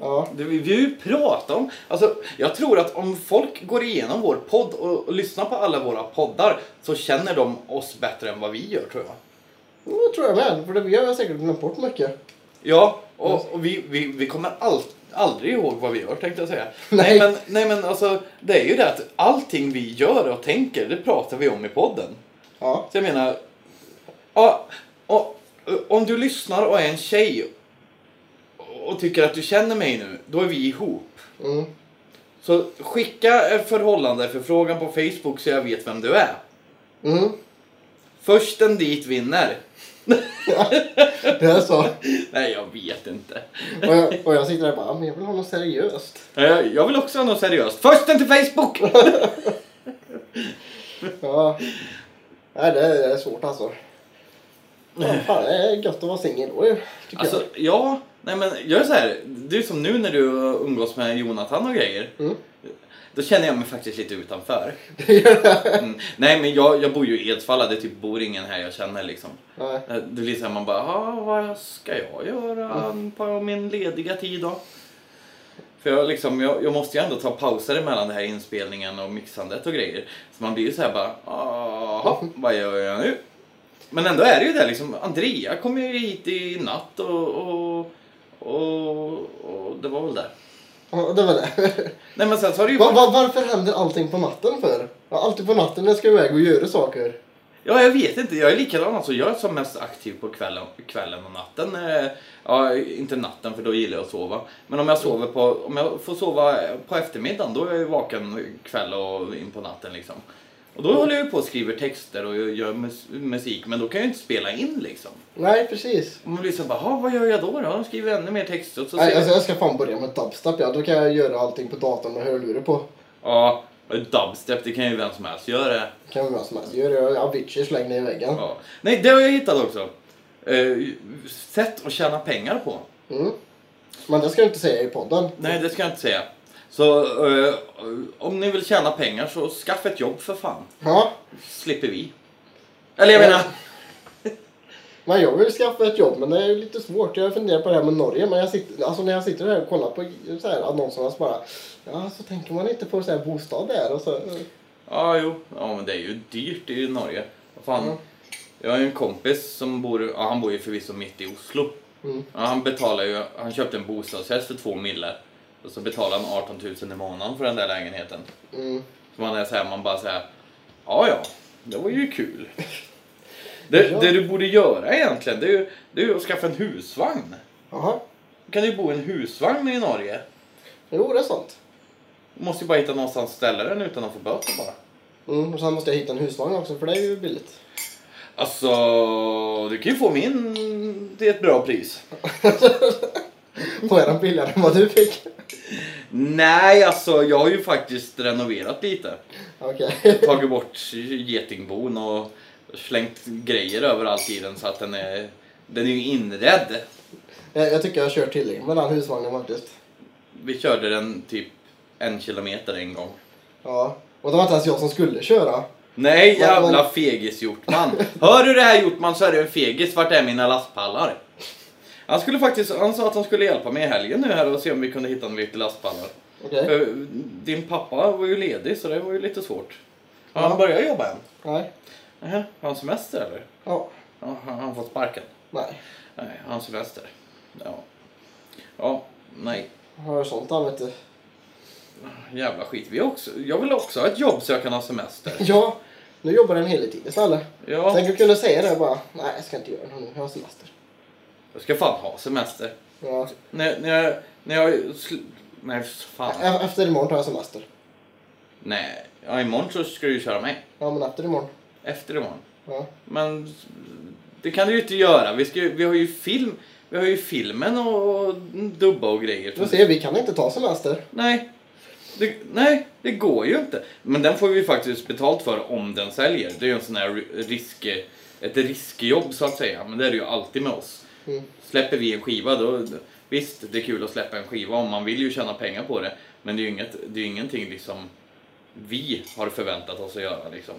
Speaker 2: Ja,
Speaker 1: Det vi vi har ju pratat om. Alltså, jag tror att om folk går igenom vår podd och, och lyssnar på alla våra poddar så känner de oss bättre än vad vi gör, tror jag.
Speaker 2: det tror jag med. För det, vi har säkert glömt bort mycket.
Speaker 1: Ja, och, och vi, vi, vi kommer all, aldrig ihåg vad vi gör tänkte jag säga. Nej. men, nej men alltså, det är ju det att allting vi gör och tänker, det pratar vi om i podden.
Speaker 2: Ja.
Speaker 1: Så jag menar, ja, och, om du lyssnar och är en tjej och tycker att du känner mig nu, då är vi ihop.
Speaker 2: Mm.
Speaker 1: Så skicka en förhållandeförfrågan på Facebook så jag vet vem du är.
Speaker 2: Mm.
Speaker 1: Först en dit vinner.
Speaker 2: Det är så.
Speaker 1: Nej, jag vet inte.
Speaker 2: Och jag, och jag sitter där och bara, "Ja, men jag vill ha något seriöst.
Speaker 1: Nej, Eh, Jag vill också ha något seriöst. Först en till Facebook!
Speaker 2: Ja. Nej, det är, det är svårt alltså. Ja, fan, det är gött att vara singel då ju, tycker
Speaker 1: Alltså, ja. Nej men jag är så här, det är som nu när du umgås med Jonathan och grejer.
Speaker 2: Mm.
Speaker 1: Då känner jag mig faktiskt lite utanför.
Speaker 2: jag.
Speaker 1: Mm. Nej men jag, jag bor ju i Edsvalla, det typ bor ingen här jag känner liksom.
Speaker 2: Nej.
Speaker 1: Eh, Det blir så här, man bara, "Ah, vad ska jag göra på min lediga tid då? För jag, liksom, jag, jag måste ju ändå ta pauser mellan det här inspelningen och mixandet och grejer. Så man blir ju så här bara, jaha, vad gör jag nu? Men ändå är det ju det liksom, Andrea kom ju hit i natt och, och, och, och det var väl det.
Speaker 2: Ja, det var det.
Speaker 1: Nej men sen så har det ju
Speaker 2: Va,
Speaker 1: varit,
Speaker 2: va, varför händer allting på natten för? Ja, alltid på natten när jag ska iväg och göra saker.
Speaker 1: ja jag vet inte, jag är likadan alltså. Jag är som mest aktiv på kvällen, kvällen och natten. Eh, Ja, inte natten för då gillar jag att sova. Men om jag sover på, om jag får sova på eftermiddagen då är jag ju vaken kväll och in på natten liksom. Och
Speaker 2: Mm.
Speaker 1: då håller jag ju på och skriver texter och jag gör mus- musik men då kan jag ju inte spela in liksom.
Speaker 2: Nej, precis.
Speaker 1: Och man blir så här bara, "Ha, vad gör jag då då? Jag skriver ännu mer texter och så
Speaker 2: Nej,
Speaker 1: säger
Speaker 2: alltså, jag ska fan börja med dubstep. Ja. Då kan jag göra allting på datorn med hörlurar på.
Speaker 1: Ja, dubstep det kan ju vem som helst göra.
Speaker 2: kan vara vad som helst. Gör jag Avicii släng ner i väggen.
Speaker 1: Ja. Nej, det har jag hittat också. Eh, sätt att tjäna pengar på.
Speaker 2: Mm. Men det ska jag inte säga i podden.
Speaker 1: Nej, det ska jag inte säga. Så eh, om ni vill tjäna pengar så skaffa ett jobb för fan.
Speaker 2: Ja,
Speaker 1: Slipper vi. Eller jag menar,
Speaker 2: men jag vill skaffa ett jobb men det är lite svårt. Jag funderar på det här med Norge men jag sitter, alltså när jag sitter här och kollar på så här annonserna så bara ja så tänker man inte på så här bostad där och så.
Speaker 1: ja jo, ja men det är ju dyrt i Norge. Vad Fan.
Speaker 2: Mm.
Speaker 1: Jag har ju en kompis som bor, ja, han bor ju förvisso mitt i Oslo.
Speaker 2: Mm.
Speaker 1: Ja, han betalar ju, han köpte en bostadsrätt för två mille. Och så betalar han 18 000 i månaden för den där lägenheten.
Speaker 2: Mm.
Speaker 1: Så man är så här, man bara säger ja ja, det var ju kul. Det,
Speaker 2: Ja.
Speaker 1: det du borde göra egentligen, det är ju, det är ju att skaffa en husvagn.
Speaker 2: Jaha,
Speaker 1: Då kan du ju bo i en husvagn i Norge.
Speaker 2: jo det är sant.
Speaker 1: Du måste ju bara hitta någonstans att ställa den utan att få böter bara.
Speaker 2: Mm. Och sen måste jag hitta en husvagn också för det är ju billigt.
Speaker 1: Alltså, du kan ju få min till ett bra pris.
Speaker 2: Var den billigare än vad du fick?
Speaker 1: Nej, alltså jag har ju faktiskt renoverat lite.
Speaker 2: Okej.
Speaker 1: Tagit bort getingbon och slängt grejer överallt i den så att den är, den är ju inredd.
Speaker 2: Jag, jag tycker jag har kört tillräckligt med den husvagnen faktiskt.
Speaker 1: Vi körde den typ en kilometer en gång.
Speaker 2: Ja. Och det var inte ens jag som skulle köra.
Speaker 1: Nej
Speaker 2: Men- men-
Speaker 1: jävla fegis Hjortman. Hör du det här Hjortman så är du en fegis. Vart är mina lastpallar? Han skulle faktiskt, han sa att han skulle hjälpa mig i helgen nu här och se om vi kunde hitta lite lastpallar.
Speaker 2: Okej.
Speaker 1: För Eh, Din pappa var ju ledig så det var ju lite svårt. Har
Speaker 2: Ja.
Speaker 1: han börjat jobba än?
Speaker 2: Nej.
Speaker 1: Nähä, har han semester eller?
Speaker 2: Ja.
Speaker 1: Ja, han har fått sparken.
Speaker 2: Nej.
Speaker 1: Nej, har han semester? Ja. Ja, nej.
Speaker 2: Har sånt han vet du.
Speaker 1: Jävla skit. Vi också, jag vill också ha ett jobb så jag kan ha semester.
Speaker 2: Ja, nu jobbar den hela tiden istället.
Speaker 1: Ja,
Speaker 2: Tänk att kunna säga det bara. Nej, jag ska inte göra det nu. Jag har semester.
Speaker 1: jag ska fan ha semester.
Speaker 2: Ja.
Speaker 1: När, när jag... När jag sl- nej, fan.
Speaker 2: E- Efter imorgon tar jag semester.
Speaker 1: Nej, ja, imorgon så ska du ju köra mig.
Speaker 2: Ja, men efter imorgon.
Speaker 1: Efter imorgon.
Speaker 2: Ja.
Speaker 1: Men det kan du ju inte göra. Vi, ska, ju- vi har ju film... Vi har ju filmen och, och dubba och grejer.
Speaker 2: Du ser, vi kan inte ta semester.
Speaker 1: Nej. Det, nej, det går ju inte. Men den får vi ju faktiskt betalt för om den säljer. Det är ju en sån här ri- risk... Ett riskjobb så att säga. Men det är det ju alltid med oss.
Speaker 2: Mm.
Speaker 1: Släpper vi en skiva då... Visst, det är kul att släppa en skiva om man vill ju tjäna pengar på det. Men det är ju, inget, det är ju ingenting liksom vi har förväntat oss att göra liksom.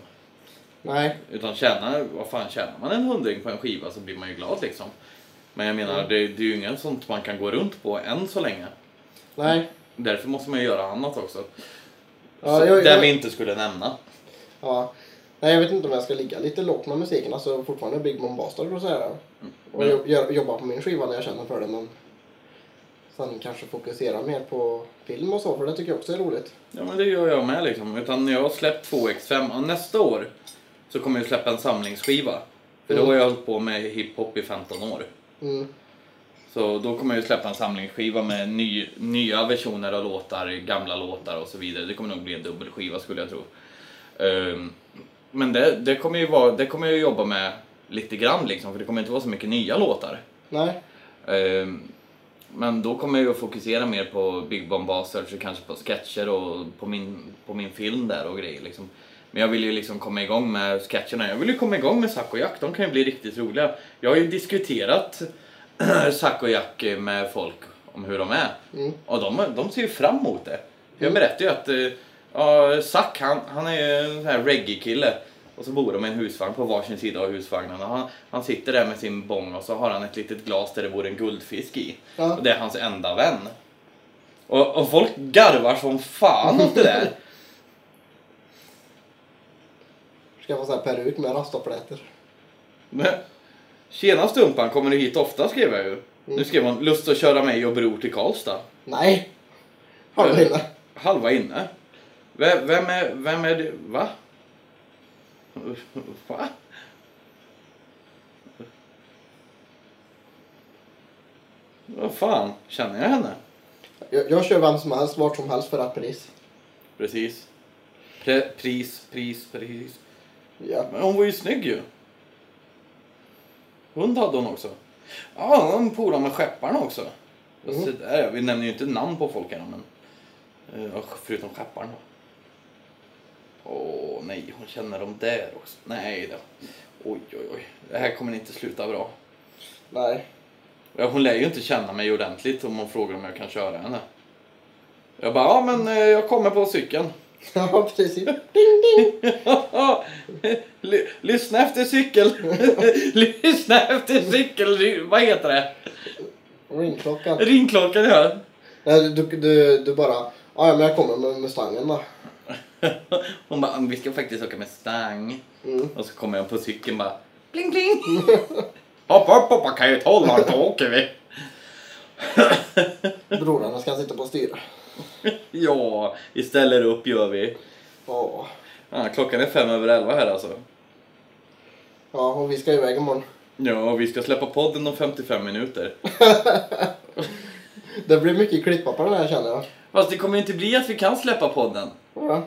Speaker 2: Nej.
Speaker 1: Utan tjäna, vad fan tjänar man en hundring på en skiva så blir man ju glad liksom. Men jag menar,
Speaker 2: Mm.
Speaker 1: det, det är ju inget sånt man kan gå runt på än så länge.
Speaker 2: Nej.
Speaker 1: Därför måste man ju göra annat också.
Speaker 2: Ja,
Speaker 1: Så-
Speaker 2: jag,
Speaker 1: där vi
Speaker 2: jag,
Speaker 1: inte skulle nämna.
Speaker 2: ja. Nej, jag vet inte om jag ska ligga lite lågt med musiken. Alltså fortfarande Big Mom Bastard och sådär. Och
Speaker 1: Men-
Speaker 2: jo- gör- jobba på min skiva när jag känner för det. Men sen kanske fokusera mer på film och så, för det tycker jag också är roligt.
Speaker 1: Ja, men det gör jag med liksom. Utan jag har släppt två X5 och nästa år så kommer jag släppa en samlingsskiva. För då har jag hållit på med hiphop i 15 år.
Speaker 2: Mm.
Speaker 1: Så då kommer jag ju släppa en samlingsskiva med ny, nya versioner av låtar, gamla låtar och så vidare. Det kommer nog bli en dubbelskiva skulle jag tro. Ehm, men det, det, kommer ju vara, det kommer jag ju jobba med lite grann liksom, för det kommer inte vara så mycket nya låtar.
Speaker 2: Nej.
Speaker 1: Ehm, men då kommer jag ju att fokusera mer på Big Bomb Bastards och kanske på sketcher och på min, på min film där och grejer liksom. Men jag vill ju liksom komma igång med sketcherna. Jag vill ju komma igång med Zack och Jack, de kan ju bli riktigt roliga. Jag har ju diskuterat Zack och Jack med folk om hur de är.
Speaker 2: Mm.
Speaker 1: Och de, de ser ju fram emot det. Jag berättar ju att eh, ja, Zack, han, han är ju en sån här reggae-kille. Och så bor de i en husvagn på varsin sida av husvagnen. Och han, han sitter där med sin bong och så har han ett litet glas där det vore en guldfisk i.
Speaker 2: Ja.
Speaker 1: Och det är hans enda vän. Och, och folk garvar som fan åt det där.
Speaker 2: Ska få så här peruk med rastapläter.
Speaker 1: Men, Mm. Tjena Stumpan, kommer du hit ofta? skrev jag ju. Nu skrev hon lust att köra mig och Bror till Karlstad.
Speaker 2: Nej! Har du
Speaker 1: Mm.
Speaker 2: inne?
Speaker 1: Halva inne. Vem, vem är, vem är det? Va? Va? Vad fan, känner jag henne?
Speaker 2: Jag, jag kör vem som helst, vart som helst för rätt pris.
Speaker 1: Precis. Pre, pris, pris, pris.
Speaker 2: Ja.
Speaker 1: Men hon var ju snygg ju. Hund hade hon också. Ja, hon polade med skepparen också. Fast
Speaker 2: Mm.
Speaker 1: det där, vi nämner ju inte namn på folk här men... eh, och Förutom skepparen då. Åh nej, hon känner dem där också. Nej då. Oj, oj, oj. Det här kommer inte sluta bra.
Speaker 2: Nej.
Speaker 1: Ja, hon lär ju inte känna mig ordentligt om hon frågar om jag kan köra henne. Jag bara, ja men eh, jag kommer på cykeln.
Speaker 2: Ja, precis. Ding, ding!
Speaker 1: Ly- Lyssna efter cykel. Lyssna efter cykel. Vad heter det?
Speaker 2: Ringklockan.
Speaker 1: Ringklockan ja.
Speaker 2: Nej, du, du, du bara, ja ja, men jag kommer med Mustangen då.
Speaker 1: Hon bara, vi ska faktiskt åka med stang.
Speaker 2: Mm.
Speaker 1: Och så kommer jag på cykeln bara, bling bling. Hopp hopp hoppa kan jag tala, då åker vi.
Speaker 2: Brorarna ska sitta på styra.
Speaker 1: Ja, vi ställer upp gör vi.
Speaker 2: Ja.
Speaker 1: Ja, klockan är fem över elva här alltså.
Speaker 2: ja, och vi ska iväg imorgon.
Speaker 1: Ja, och vi ska släppa podden om 55 minuter.
Speaker 2: Det blir mycket klippa på den här känner jag.
Speaker 1: Fast det kommer ju inte bli att vi kan släppa podden.
Speaker 2: Ja.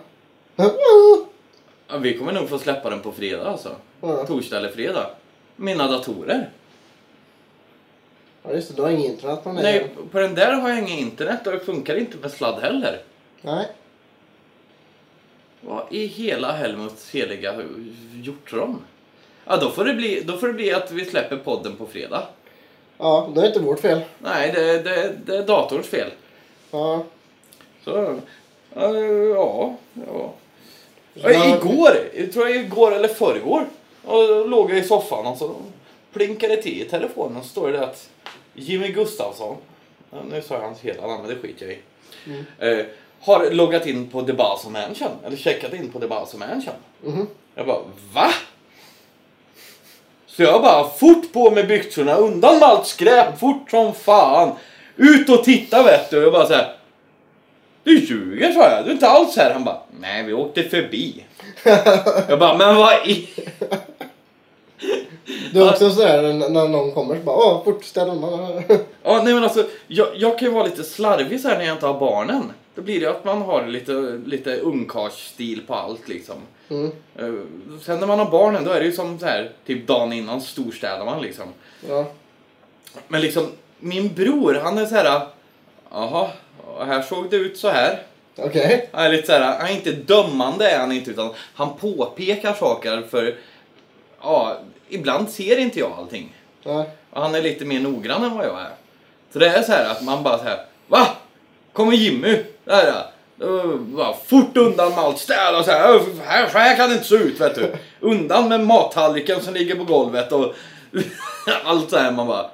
Speaker 1: Ja, Vi kommer nog få släppa den på fredag alltså.
Speaker 2: Ja.
Speaker 1: Torsdag eller fredag. Mina datorer.
Speaker 2: Ja, just det, du har ingen internet på den här.
Speaker 1: Nej, på den där har jag inget internet och det funkar inte med sladd heller.
Speaker 2: Nej.
Speaker 1: Vad i hela Helmuts heliga hu- hjortron? Ja, då får, det bli, då får det bli att vi släpper podden på fredag.
Speaker 2: Ja, det är inte vårt fel.
Speaker 1: Nej, det, det, det är datorns fel.
Speaker 2: Ja.
Speaker 1: Så, ja, ja. ja.
Speaker 2: Ja.
Speaker 1: Ja, Igår, jag tror jag igår eller förrgår, och då låg jag i soffan och så plinkade det till i telefonen och så står det att Jimmy Gustafsson, ja, nu sa jag hans hela namn men det skiter jag i, eh, har loggat in på The Basel Mansion, eller checkat in på The Basel Mansion.
Speaker 2: Mhm.
Speaker 1: Jag bara VA? Så jag bara fort på med byxorna, undan med allt skräp, fort som fan. Ut och titta vet du. Jag bara så här. Du ljuger sa jag, du är inte alls här. Han bara nej vi åkte förbi. jag bara men vad i...
Speaker 2: Det är också sådär n- när någon kommer så bara, åh, fort ställ undan.
Speaker 1: Ja nej men alltså jag, jag kan ju vara lite slarvig så här när jag inte har barnen. Då blir det att man har lite, lite ungkarlsstil på allt liksom.
Speaker 2: Mm.
Speaker 1: Eh, Sen när man har barnen då är det ju som så här typ dagen innan storstädar man liksom.
Speaker 2: Ja.
Speaker 1: Men liksom, min bror han är så här. Jaha, och här såg det ut så här.
Speaker 2: Okej.
Speaker 1: Han är lite så här, han är inte dömande är han inte utan han påpekar saker för ja, ibland ser inte jag allting.
Speaker 2: Ja.
Speaker 1: Och han är lite mer noggrann än vad jag är. Så det är så här att man bara så här, va? Kommer Jimmy? Där ja. Då bara fort undan med allt städ och så här, "Öh, här, så här kan det inte se ut vet du. Undan med mattallriken som ligger på golvet och allt så här. Man bara,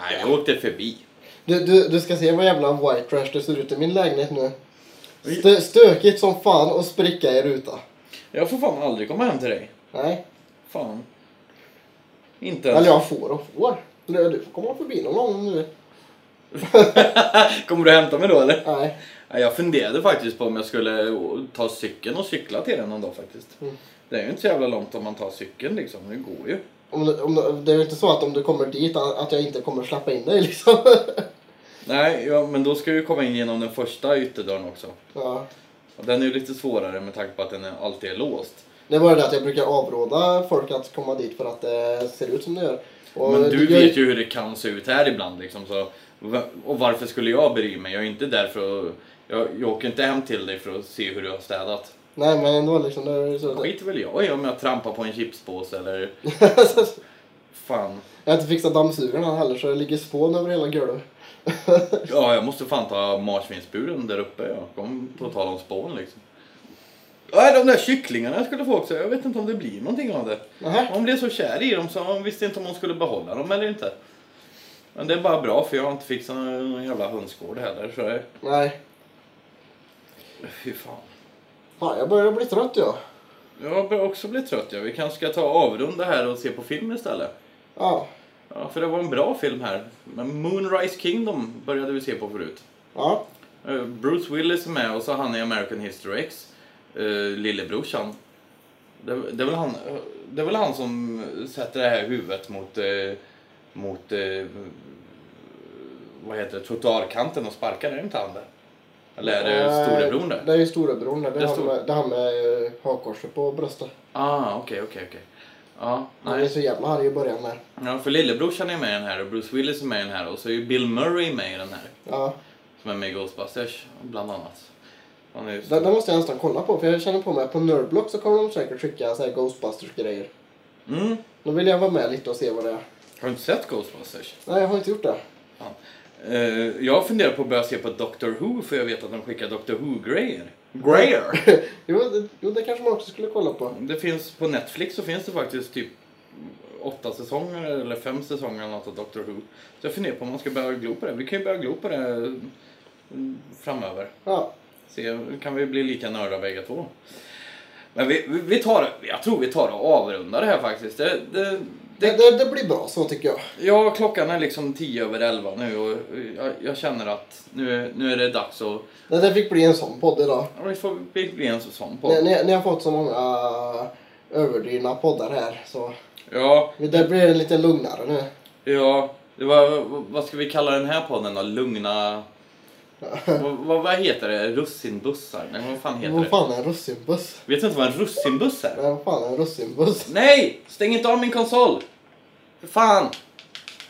Speaker 1: nej jag åkte förbi.
Speaker 2: Du, du, du ska se vad jävla white trash det ser ut i min lägenhet nu. Stö, stökigt som fan och spricka i ruta.
Speaker 1: Jag får fan aldrig komma hem till dig.
Speaker 2: Nej.
Speaker 1: Fan. Inte ens.
Speaker 2: Eller jag får och får. Du du får komma förbi någon gång om du vill.
Speaker 1: Kommer du hämta mig då eller?
Speaker 2: Nej.
Speaker 1: Ja, Jag funderade faktiskt på om jag skulle ta cykeln och cykla till den någon dag faktiskt.
Speaker 2: Mm.
Speaker 1: Det är ju inte så jävla långt om man tar cykeln liksom. Det går ju.
Speaker 2: Om, du- om, du- det är ju inte så att om du kommer dit att att jag inte kommer släppa in dig liksom.
Speaker 1: Nej, ja, men då ska du komma in genom den första ytterdörren också.
Speaker 2: ja.
Speaker 1: Och Den är ju lite svårare med tanke på att den är- alltid är låst.
Speaker 2: Det är bara det att jag brukar avråda folk att komma dit för att det ser ut som det gör. Och
Speaker 1: Men du
Speaker 2: det gör-
Speaker 1: vet ju hur det kan se ut här ibland liksom. Så, va- och varför skulle jag bry mig? Jag är inte där för att... Jag, jag åker inte hem till dig för att se hur du har städat.
Speaker 2: Nej men ändå liksom. Det är ju så
Speaker 1: Skit väl jag i om jag trampar på en chipspåse eller... Fan.
Speaker 2: jag har inte fixat dammsugaren än heller så det ligger spån över hela golvet.
Speaker 1: Ja, jag måste fan ta marsvinsburen där uppe. Jag kom på tal om spån liksom. Nej, de där kycklingarna jag skulle få också. Jag vet inte om det blir någonting av det.
Speaker 2: Nähä.
Speaker 1: Hon blev så kär i dem så hon visste inte om hon skulle behålla dem eller inte. Men det är bara bra för jag har inte fixat någon jävla hönsgård heller. Så det...
Speaker 2: Nej.
Speaker 1: Fy fan.
Speaker 2: Fan jag börjar bli trött jag.
Speaker 1: Jag börjar också bli trött. Ja. Vi kanske ska ta och avrunda här och se på film istället.
Speaker 2: Ja.
Speaker 1: Ja, för det var en bra film här. Men Moonrise Kingdom började vi se på förut.
Speaker 2: Ja.
Speaker 1: Eh, Bruce Willis är med och så han i American History X. Uh, lillebrorsan. Det, det, är väl han, eh, det är väl han som sätter det här huvudet mot, eh, mot eh, vad heter det, trottoarkanten och sparkar. Är det inte han där? Eller är det
Speaker 2: Nej,
Speaker 1: storebror där?
Speaker 2: Eh, Det är ju storebror där.
Speaker 1: Det
Speaker 2: Det är
Speaker 1: är
Speaker 2: han
Speaker 1: stor-
Speaker 2: med, det är han med eh, hakkorset på bröstet.
Speaker 1: Ah, okej, okej, okej. Ja,
Speaker 2: Han är
Speaker 1: nej.
Speaker 2: så jävla arg i början där.
Speaker 1: Ja, för lillebrorsan är med i den här och Bruce Willis är med i den här och så är ju Bill Murray med i den här.
Speaker 2: Ja.
Speaker 1: Som är med i Ghostbusters, bland annat. Han är ju
Speaker 2: Det, det måste jag nästan kolla på för jag känner på mig att på Nerdblock så kommer de säkert skicka så här Ghostbusters grejer.
Speaker 1: Mm.
Speaker 2: Då vill jag vara med lite och se vad det är.
Speaker 1: Har du inte sett Ghostbusters?
Speaker 2: Nej jag har inte gjort det.
Speaker 1: Fan. Eh, jag funderar på att börja se på Doctor Who för jag vet att de skickar Doctor Who-grejer. Grejer!
Speaker 2: Jo det, jo, det kanske man också skulle kolla på.
Speaker 1: Det finns på Netflix så finns det faktiskt typ åtta säsonger eller fem säsonger eller något av Doctor Who. Så jag funderar på om man ska börja glo på det. Vi kan ju börja glo på det mm, framöver.
Speaker 2: Ja.
Speaker 1: Se, kan vi bli lika nörda bägge två. Men vi, vi- vi tar, jag tror vi tar och avrundar det här faktiskt. Det, det,
Speaker 2: Det, det, det blir bra så tycker jag.
Speaker 1: Ja, klockan är liksom tio över elva nu och jag, jag känner att nu, är- nu är det dags att...
Speaker 2: Det, det fick bli en sån podd idag.
Speaker 1: Ja, det får bli en sån
Speaker 2: Ni,
Speaker 1: podd.
Speaker 2: ni, ni har fått så många eh, överdrivna poddar här så
Speaker 1: Ja,
Speaker 2: det blir en lite lugnare nu.
Speaker 1: ja. Det var, vad ska vi kalla den här podden då? Lugna... vad, vad, vad heter det? Russinbussar? Nej, vad fan heter
Speaker 2: Vad
Speaker 1: det?
Speaker 2: fan är en russinbuss?
Speaker 1: Vet du inte vad en russinbuss är?
Speaker 2: Nej, Vad fan är en russinbuss?
Speaker 1: Nej! Stäng inte av min konsol! För fan!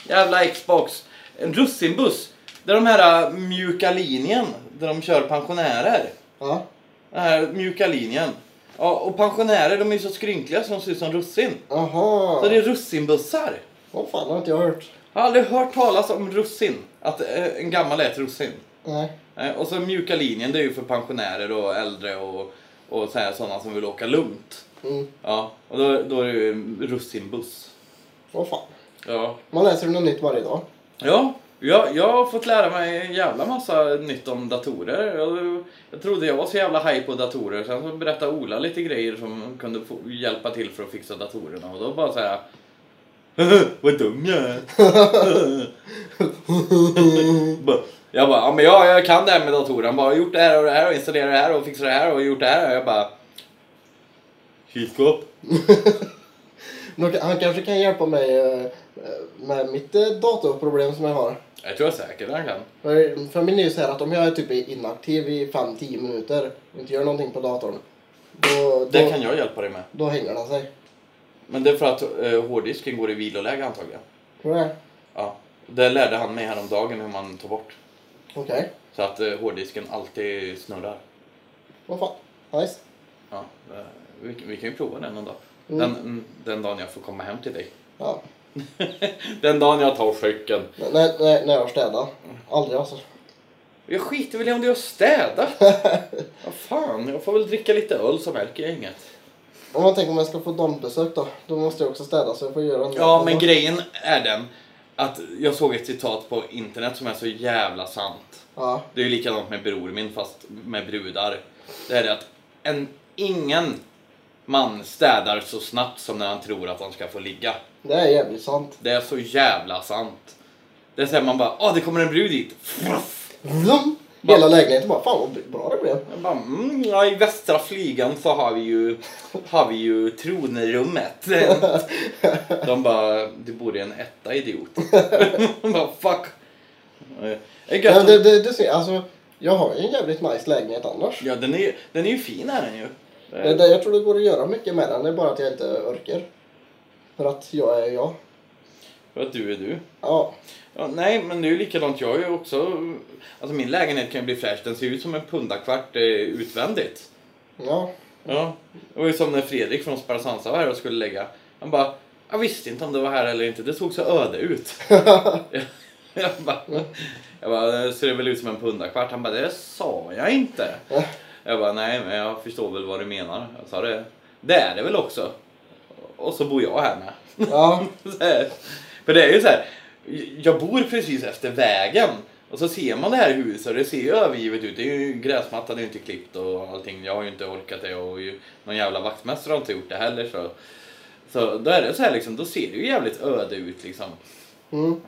Speaker 1: Jävla Xbox! En russinbuss! Det är de här äh, mjuka linjen där de kör pensionärer.
Speaker 2: Ja.
Speaker 1: Den här mjuka linjen. Ja, och pensionärer de är ju så skrynkliga så de ser ut som russin.
Speaker 2: Aha.
Speaker 1: Så det är russinbussar.
Speaker 2: Vad fan har inte jag hört.
Speaker 1: Jag har aldrig hört talas om russin. Att eh, en gammal är ett russin.
Speaker 2: Nej.
Speaker 1: Eh, Och så mjuka linjen det är ju för pensionärer och äldre och, och så här, sådana som vill åka lugnt.
Speaker 2: Mm.
Speaker 1: Ja, och då, då är det ju en russinbuss.
Speaker 2: Vad fan.
Speaker 1: Ja.
Speaker 2: Man läser något nytt varje dag.
Speaker 1: Ja, jag, jag har fått lära mig en jävla massa nytt om datorer. Jag, jag trodde jag var så jävla haj på datorer. Sen så berättade Ola lite grejer som kunde få, hjälpa till för att fixa datorerna. Och då bara såhär... Vad dum jag är. Bara- jag bara, ja men jag, jag kan det här med datorer. Han bara, "Jag har gjort det här och det här och installerat det här och fixat det här och gjort det här. Och jag bara... Kylskåp.
Speaker 2: Nå- Han kanske kan hjälpa mig eh, med mitt eh, datorproblem som jag har.
Speaker 1: Jag tror jag säkert han kan.
Speaker 2: För för min är ju så här att om jag är typ inaktiv i 5-10 minuter och inte gör någonting på datorn. Då, då,
Speaker 1: Det kan jag hjälpa dig med.
Speaker 2: då hänger den sig.
Speaker 1: Men det är för att eh, hårddisken går i viloläge antagligen.
Speaker 2: Tror du det?
Speaker 1: Ja, det lärde han mig häromdagen hur man tar bort.
Speaker 2: Okej.
Speaker 1: Så att eh, hårddisken alltid snurrar.
Speaker 2: Vad fan. Nice.
Speaker 1: Ja, eh, vi, vi kan ju prova den någon dag.
Speaker 2: Mm.
Speaker 1: Den, mm, den dagen jag får komma hem till dig.
Speaker 2: Ja.
Speaker 1: den dagen jag tar cykeln.
Speaker 2: N- När, när, när jag städar. Aldrig alltså.
Speaker 1: Jag skiter väl i om du har städat. Vad fan, jag får väl dricka lite öl så märker jag inget.
Speaker 2: Om man tänker om jag ska få dampbesök då. Då måste jag också städa så jag får göra en
Speaker 1: Ja, men grejen är den att jag såg ett citat på internet som är så jävla sant.
Speaker 2: Ja.
Speaker 1: Det är ju likadant med bror min fast med brudar. Det är det att en, ingen man städar så snabbt som när han tror att han ska få ligga.
Speaker 2: Det är jävligt sant.
Speaker 1: Det är så jävla sant. Det är såhär man bara, ah det kommer en brud dit. Fruff.
Speaker 2: Vroom! Hela lägenheten bara, fan vad bra det blev.
Speaker 1: Jag bara, mm, ja, i västra flygeln så har vi ju, har vi ju tronrummet. De bara, du bor i en etta idiot. De bara, fuck. Det är
Speaker 2: Men
Speaker 1: gött.
Speaker 2: det, det, du ser, alltså, jag har ju en jävligt nice lägenhet annars.
Speaker 1: Ja, den är, den är ju fin är den ju.
Speaker 2: Det, det, jag tror det går att göra mycket med den, det är bara att jag inte orkar. För att jag är jag.
Speaker 1: För att du är du.
Speaker 2: Ja,
Speaker 1: Ja, nej, men det är ju likadant. Jag är ju också... Alltså min lägenhet kan ju bli fräsch. Den ser ju ut som en pundakvart eh, utvändigt.
Speaker 2: ja.
Speaker 1: Ja. Det var ju som när Fredrik från Sparasansa var här och skulle lägga. Han bara... Jag visste inte om det var här eller inte. Det såg så öde ut. jag, jag bara... Jag bara, det ser väl ut som en pundakvart? Han bara, det sa jag inte. Jag bara, nej men jag förstår väl vad du menar. Jag sa det. Det är det väl också. Och så bor jag här med.
Speaker 2: ja.
Speaker 1: Så här. För det är ju så här. Jag bor precis efter vägen. Och så ser man det här huset och det ser ju övergivet ut. Det är ju gräsmattan, det är ju inte klippt och allting. Jag har ju inte orkat det och ju, någon jävla vaktmästare har inte gjort det heller. Så, så då är det så här liksom, då ser det ju jävligt öde ut liksom.
Speaker 2: Mm.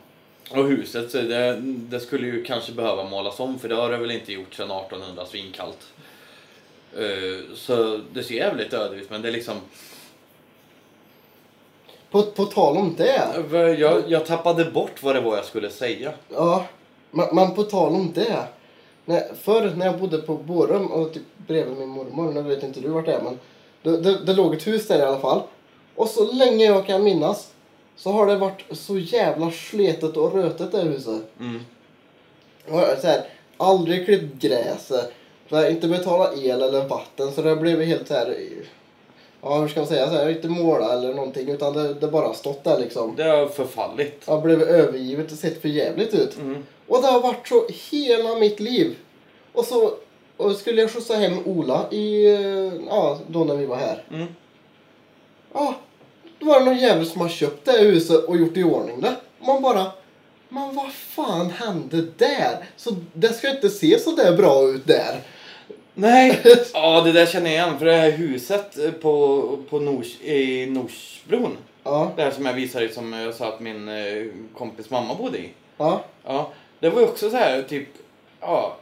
Speaker 1: Och huset, så det, det skulle ju kanske behöva målas om för det har det väl inte gjort sedan 1800 svinkallt. Eh, så det ser jävligt öde ut men det är liksom...
Speaker 2: På, på tal om det.
Speaker 1: Jag, jag tappade bort vad det var jag skulle säga.
Speaker 2: Ja, men, men på tal om det. När, förr när jag bodde på Borum och typ bredvid min mormor, nu vet inte du vart det är men det, det, det låg ett hus där i alla fall. Och så länge jag kan minnas så har det varit så jävla sletet och rötet det huset.
Speaker 1: Mm.
Speaker 2: Och så här, aldrig klippt gräs, så här, inte betala el eller vatten så det blev helt så här, ja hur ska man säga, så här, inte måla eller någonting utan det, det bara har stått där liksom.
Speaker 1: Det har förfallit.
Speaker 2: Jag blev övergivet och sett för jävligt ut.
Speaker 1: Mm.
Speaker 2: Och det har varit så hela mitt liv. Och så och skulle jag skjutsa hem Ola i, eh, ja, då när vi var här.
Speaker 1: Mm.
Speaker 2: Ja, då var det någon jävel som har köpt det här huset och gjort i ordning det. Man bara, men vad fan hände där? Så det ska inte se så där bra ut där.
Speaker 1: Nej! Ja, det där känner jag igen. För det här huset eh, på, på Nors, i Norsbron.
Speaker 2: Ja,
Speaker 1: Det här som jag visade som jag sa att min eh, kompis mamma bodde i.
Speaker 2: ja,
Speaker 1: Ja, det var ju också så här typ... Ja,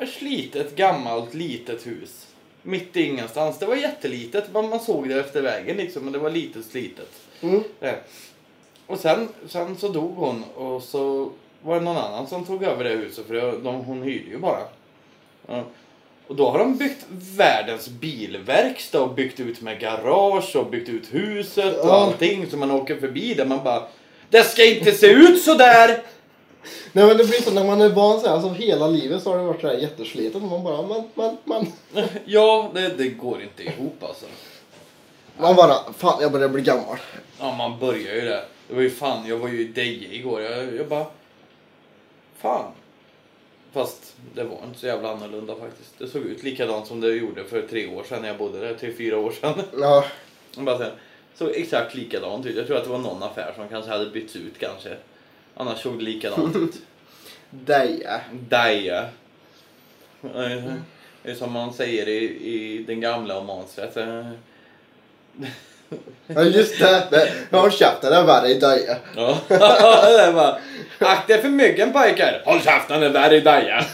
Speaker 1: ett slitet gammalt litet hus. Mitt i ingenstans. Det var jättelitet. Man, man såg det efter vägen liksom. Men det var litet slitet.
Speaker 2: mm,
Speaker 1: Det. Och sen, sen så dog hon och så var det någon annan som tog över det huset för det, de, hon hyrde ju bara. Ja. Och då har de byggt världens bilverkstad och byggt ut med garage och byggt ut huset och
Speaker 2: Ja.
Speaker 1: allting så man åker förbi där man bara Det ska inte se ut så där!
Speaker 2: Nej men det blir så när man är van så här, alltså hela livet så har det varit så här jätteslitet. Man bara, man, man, man.
Speaker 1: Ja, det, det går inte ihop alltså.
Speaker 2: Man bara, fan jag börjar bli gammal.
Speaker 1: Ja, man börjar ju där. Det var ju fan, jag var ju i Deje igår. Jag, jag bara... Fan. Fast det var inte så jävla annorlunda faktiskt. Det såg ut likadant som det gjorde för tre år sedan när jag bodde där. Tre, fyra år sedan.
Speaker 2: Ja.
Speaker 1: Jag bara så här, såg exakt likadant ut. Jag tror att det var någon affär som kanske hade bytts ut kanske. Annars såg det likadant ut.
Speaker 2: Deja.
Speaker 1: Deje. Eh, Det är som man säger i, i den gamla Åmålsrätt. eh,
Speaker 2: Ja just det. det. Jag har käften, det är värre i Deja.
Speaker 1: Ja, det är bara, akta er för myggen pojkar! Håll käften, den där är Daja!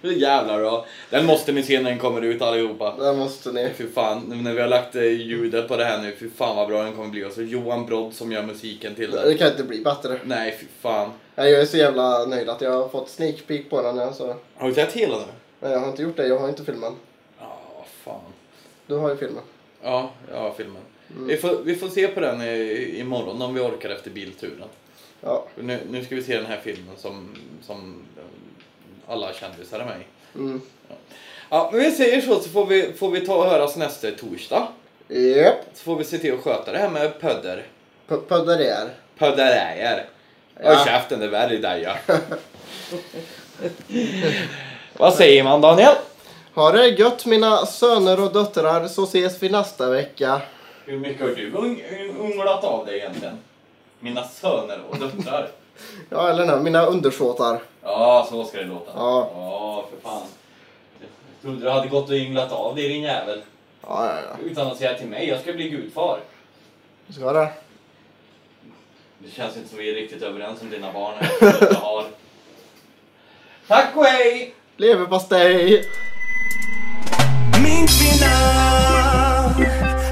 Speaker 1: Hur jävlar då? Den måste ni se när den kommer ut allihopa.
Speaker 2: Det måste ni.
Speaker 1: Fy fan, nu när vi har lagt eh, ljudet på det här nu, fy fan vad bra den kommer bli. Och så Johan Brodd som gör musiken till
Speaker 2: Det
Speaker 1: det.
Speaker 2: kan inte bli bättre.
Speaker 1: Nej, fy fan.
Speaker 2: Nej, Jag är så jävla nöjd att jag har fått sneak peek på den. Alltså.
Speaker 1: Har du sett hela nu?
Speaker 2: Nej, jag har inte gjort det, jag har inte filmen.
Speaker 1: Ja, fan.
Speaker 2: Du har ju filmen.
Speaker 1: Ja, jag har filmen. Vi, får, vi får se på den i, imorgon om vi orkar efter bilturen.
Speaker 2: Ja.
Speaker 1: Nu, nu ska vi se den här filmen som, som eh, alla kändisar är med i.
Speaker 2: Mm.
Speaker 1: Ja, men vi säger så så får vi, får vi ta och höras nästa torsdag.
Speaker 2: Japp.
Speaker 1: Så får vi se till att sköta det här med pödder.
Speaker 2: P- Puddar det är.
Speaker 1: Pödderäger. Ja.
Speaker 2: Ja.
Speaker 1: Håll käften, det är värre där ja. Vad säger man Daniel?
Speaker 2: Ha det gött mina söner och döttrar så ses vi nästa vecka.
Speaker 1: Hur mycket har du un- unglat av dig egentligen? Mina söner och döttrar.
Speaker 2: Ja eller nej, mina undersåtar.
Speaker 1: Ja, så ska det låta.
Speaker 2: Ja.
Speaker 1: ja för fan. Jag trodde du hade gått och ynglat av dig din jävel.
Speaker 2: Ja, ja, ja.
Speaker 1: Utan att säga till mig, jag ska bli gudfar.
Speaker 2: Ska det?
Speaker 1: Det känns inte som vi är riktigt överens om dina barn. eller vad jag har. Tack och hej!
Speaker 2: Leverpastej!
Speaker 5: Min kvinna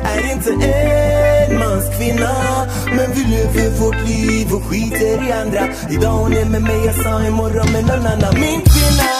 Speaker 5: är inte en mans kvinna Men vi lever vårt liv och skiter i andra Idag hon är med mig, jag sa imorgon med någon annan Min kvinna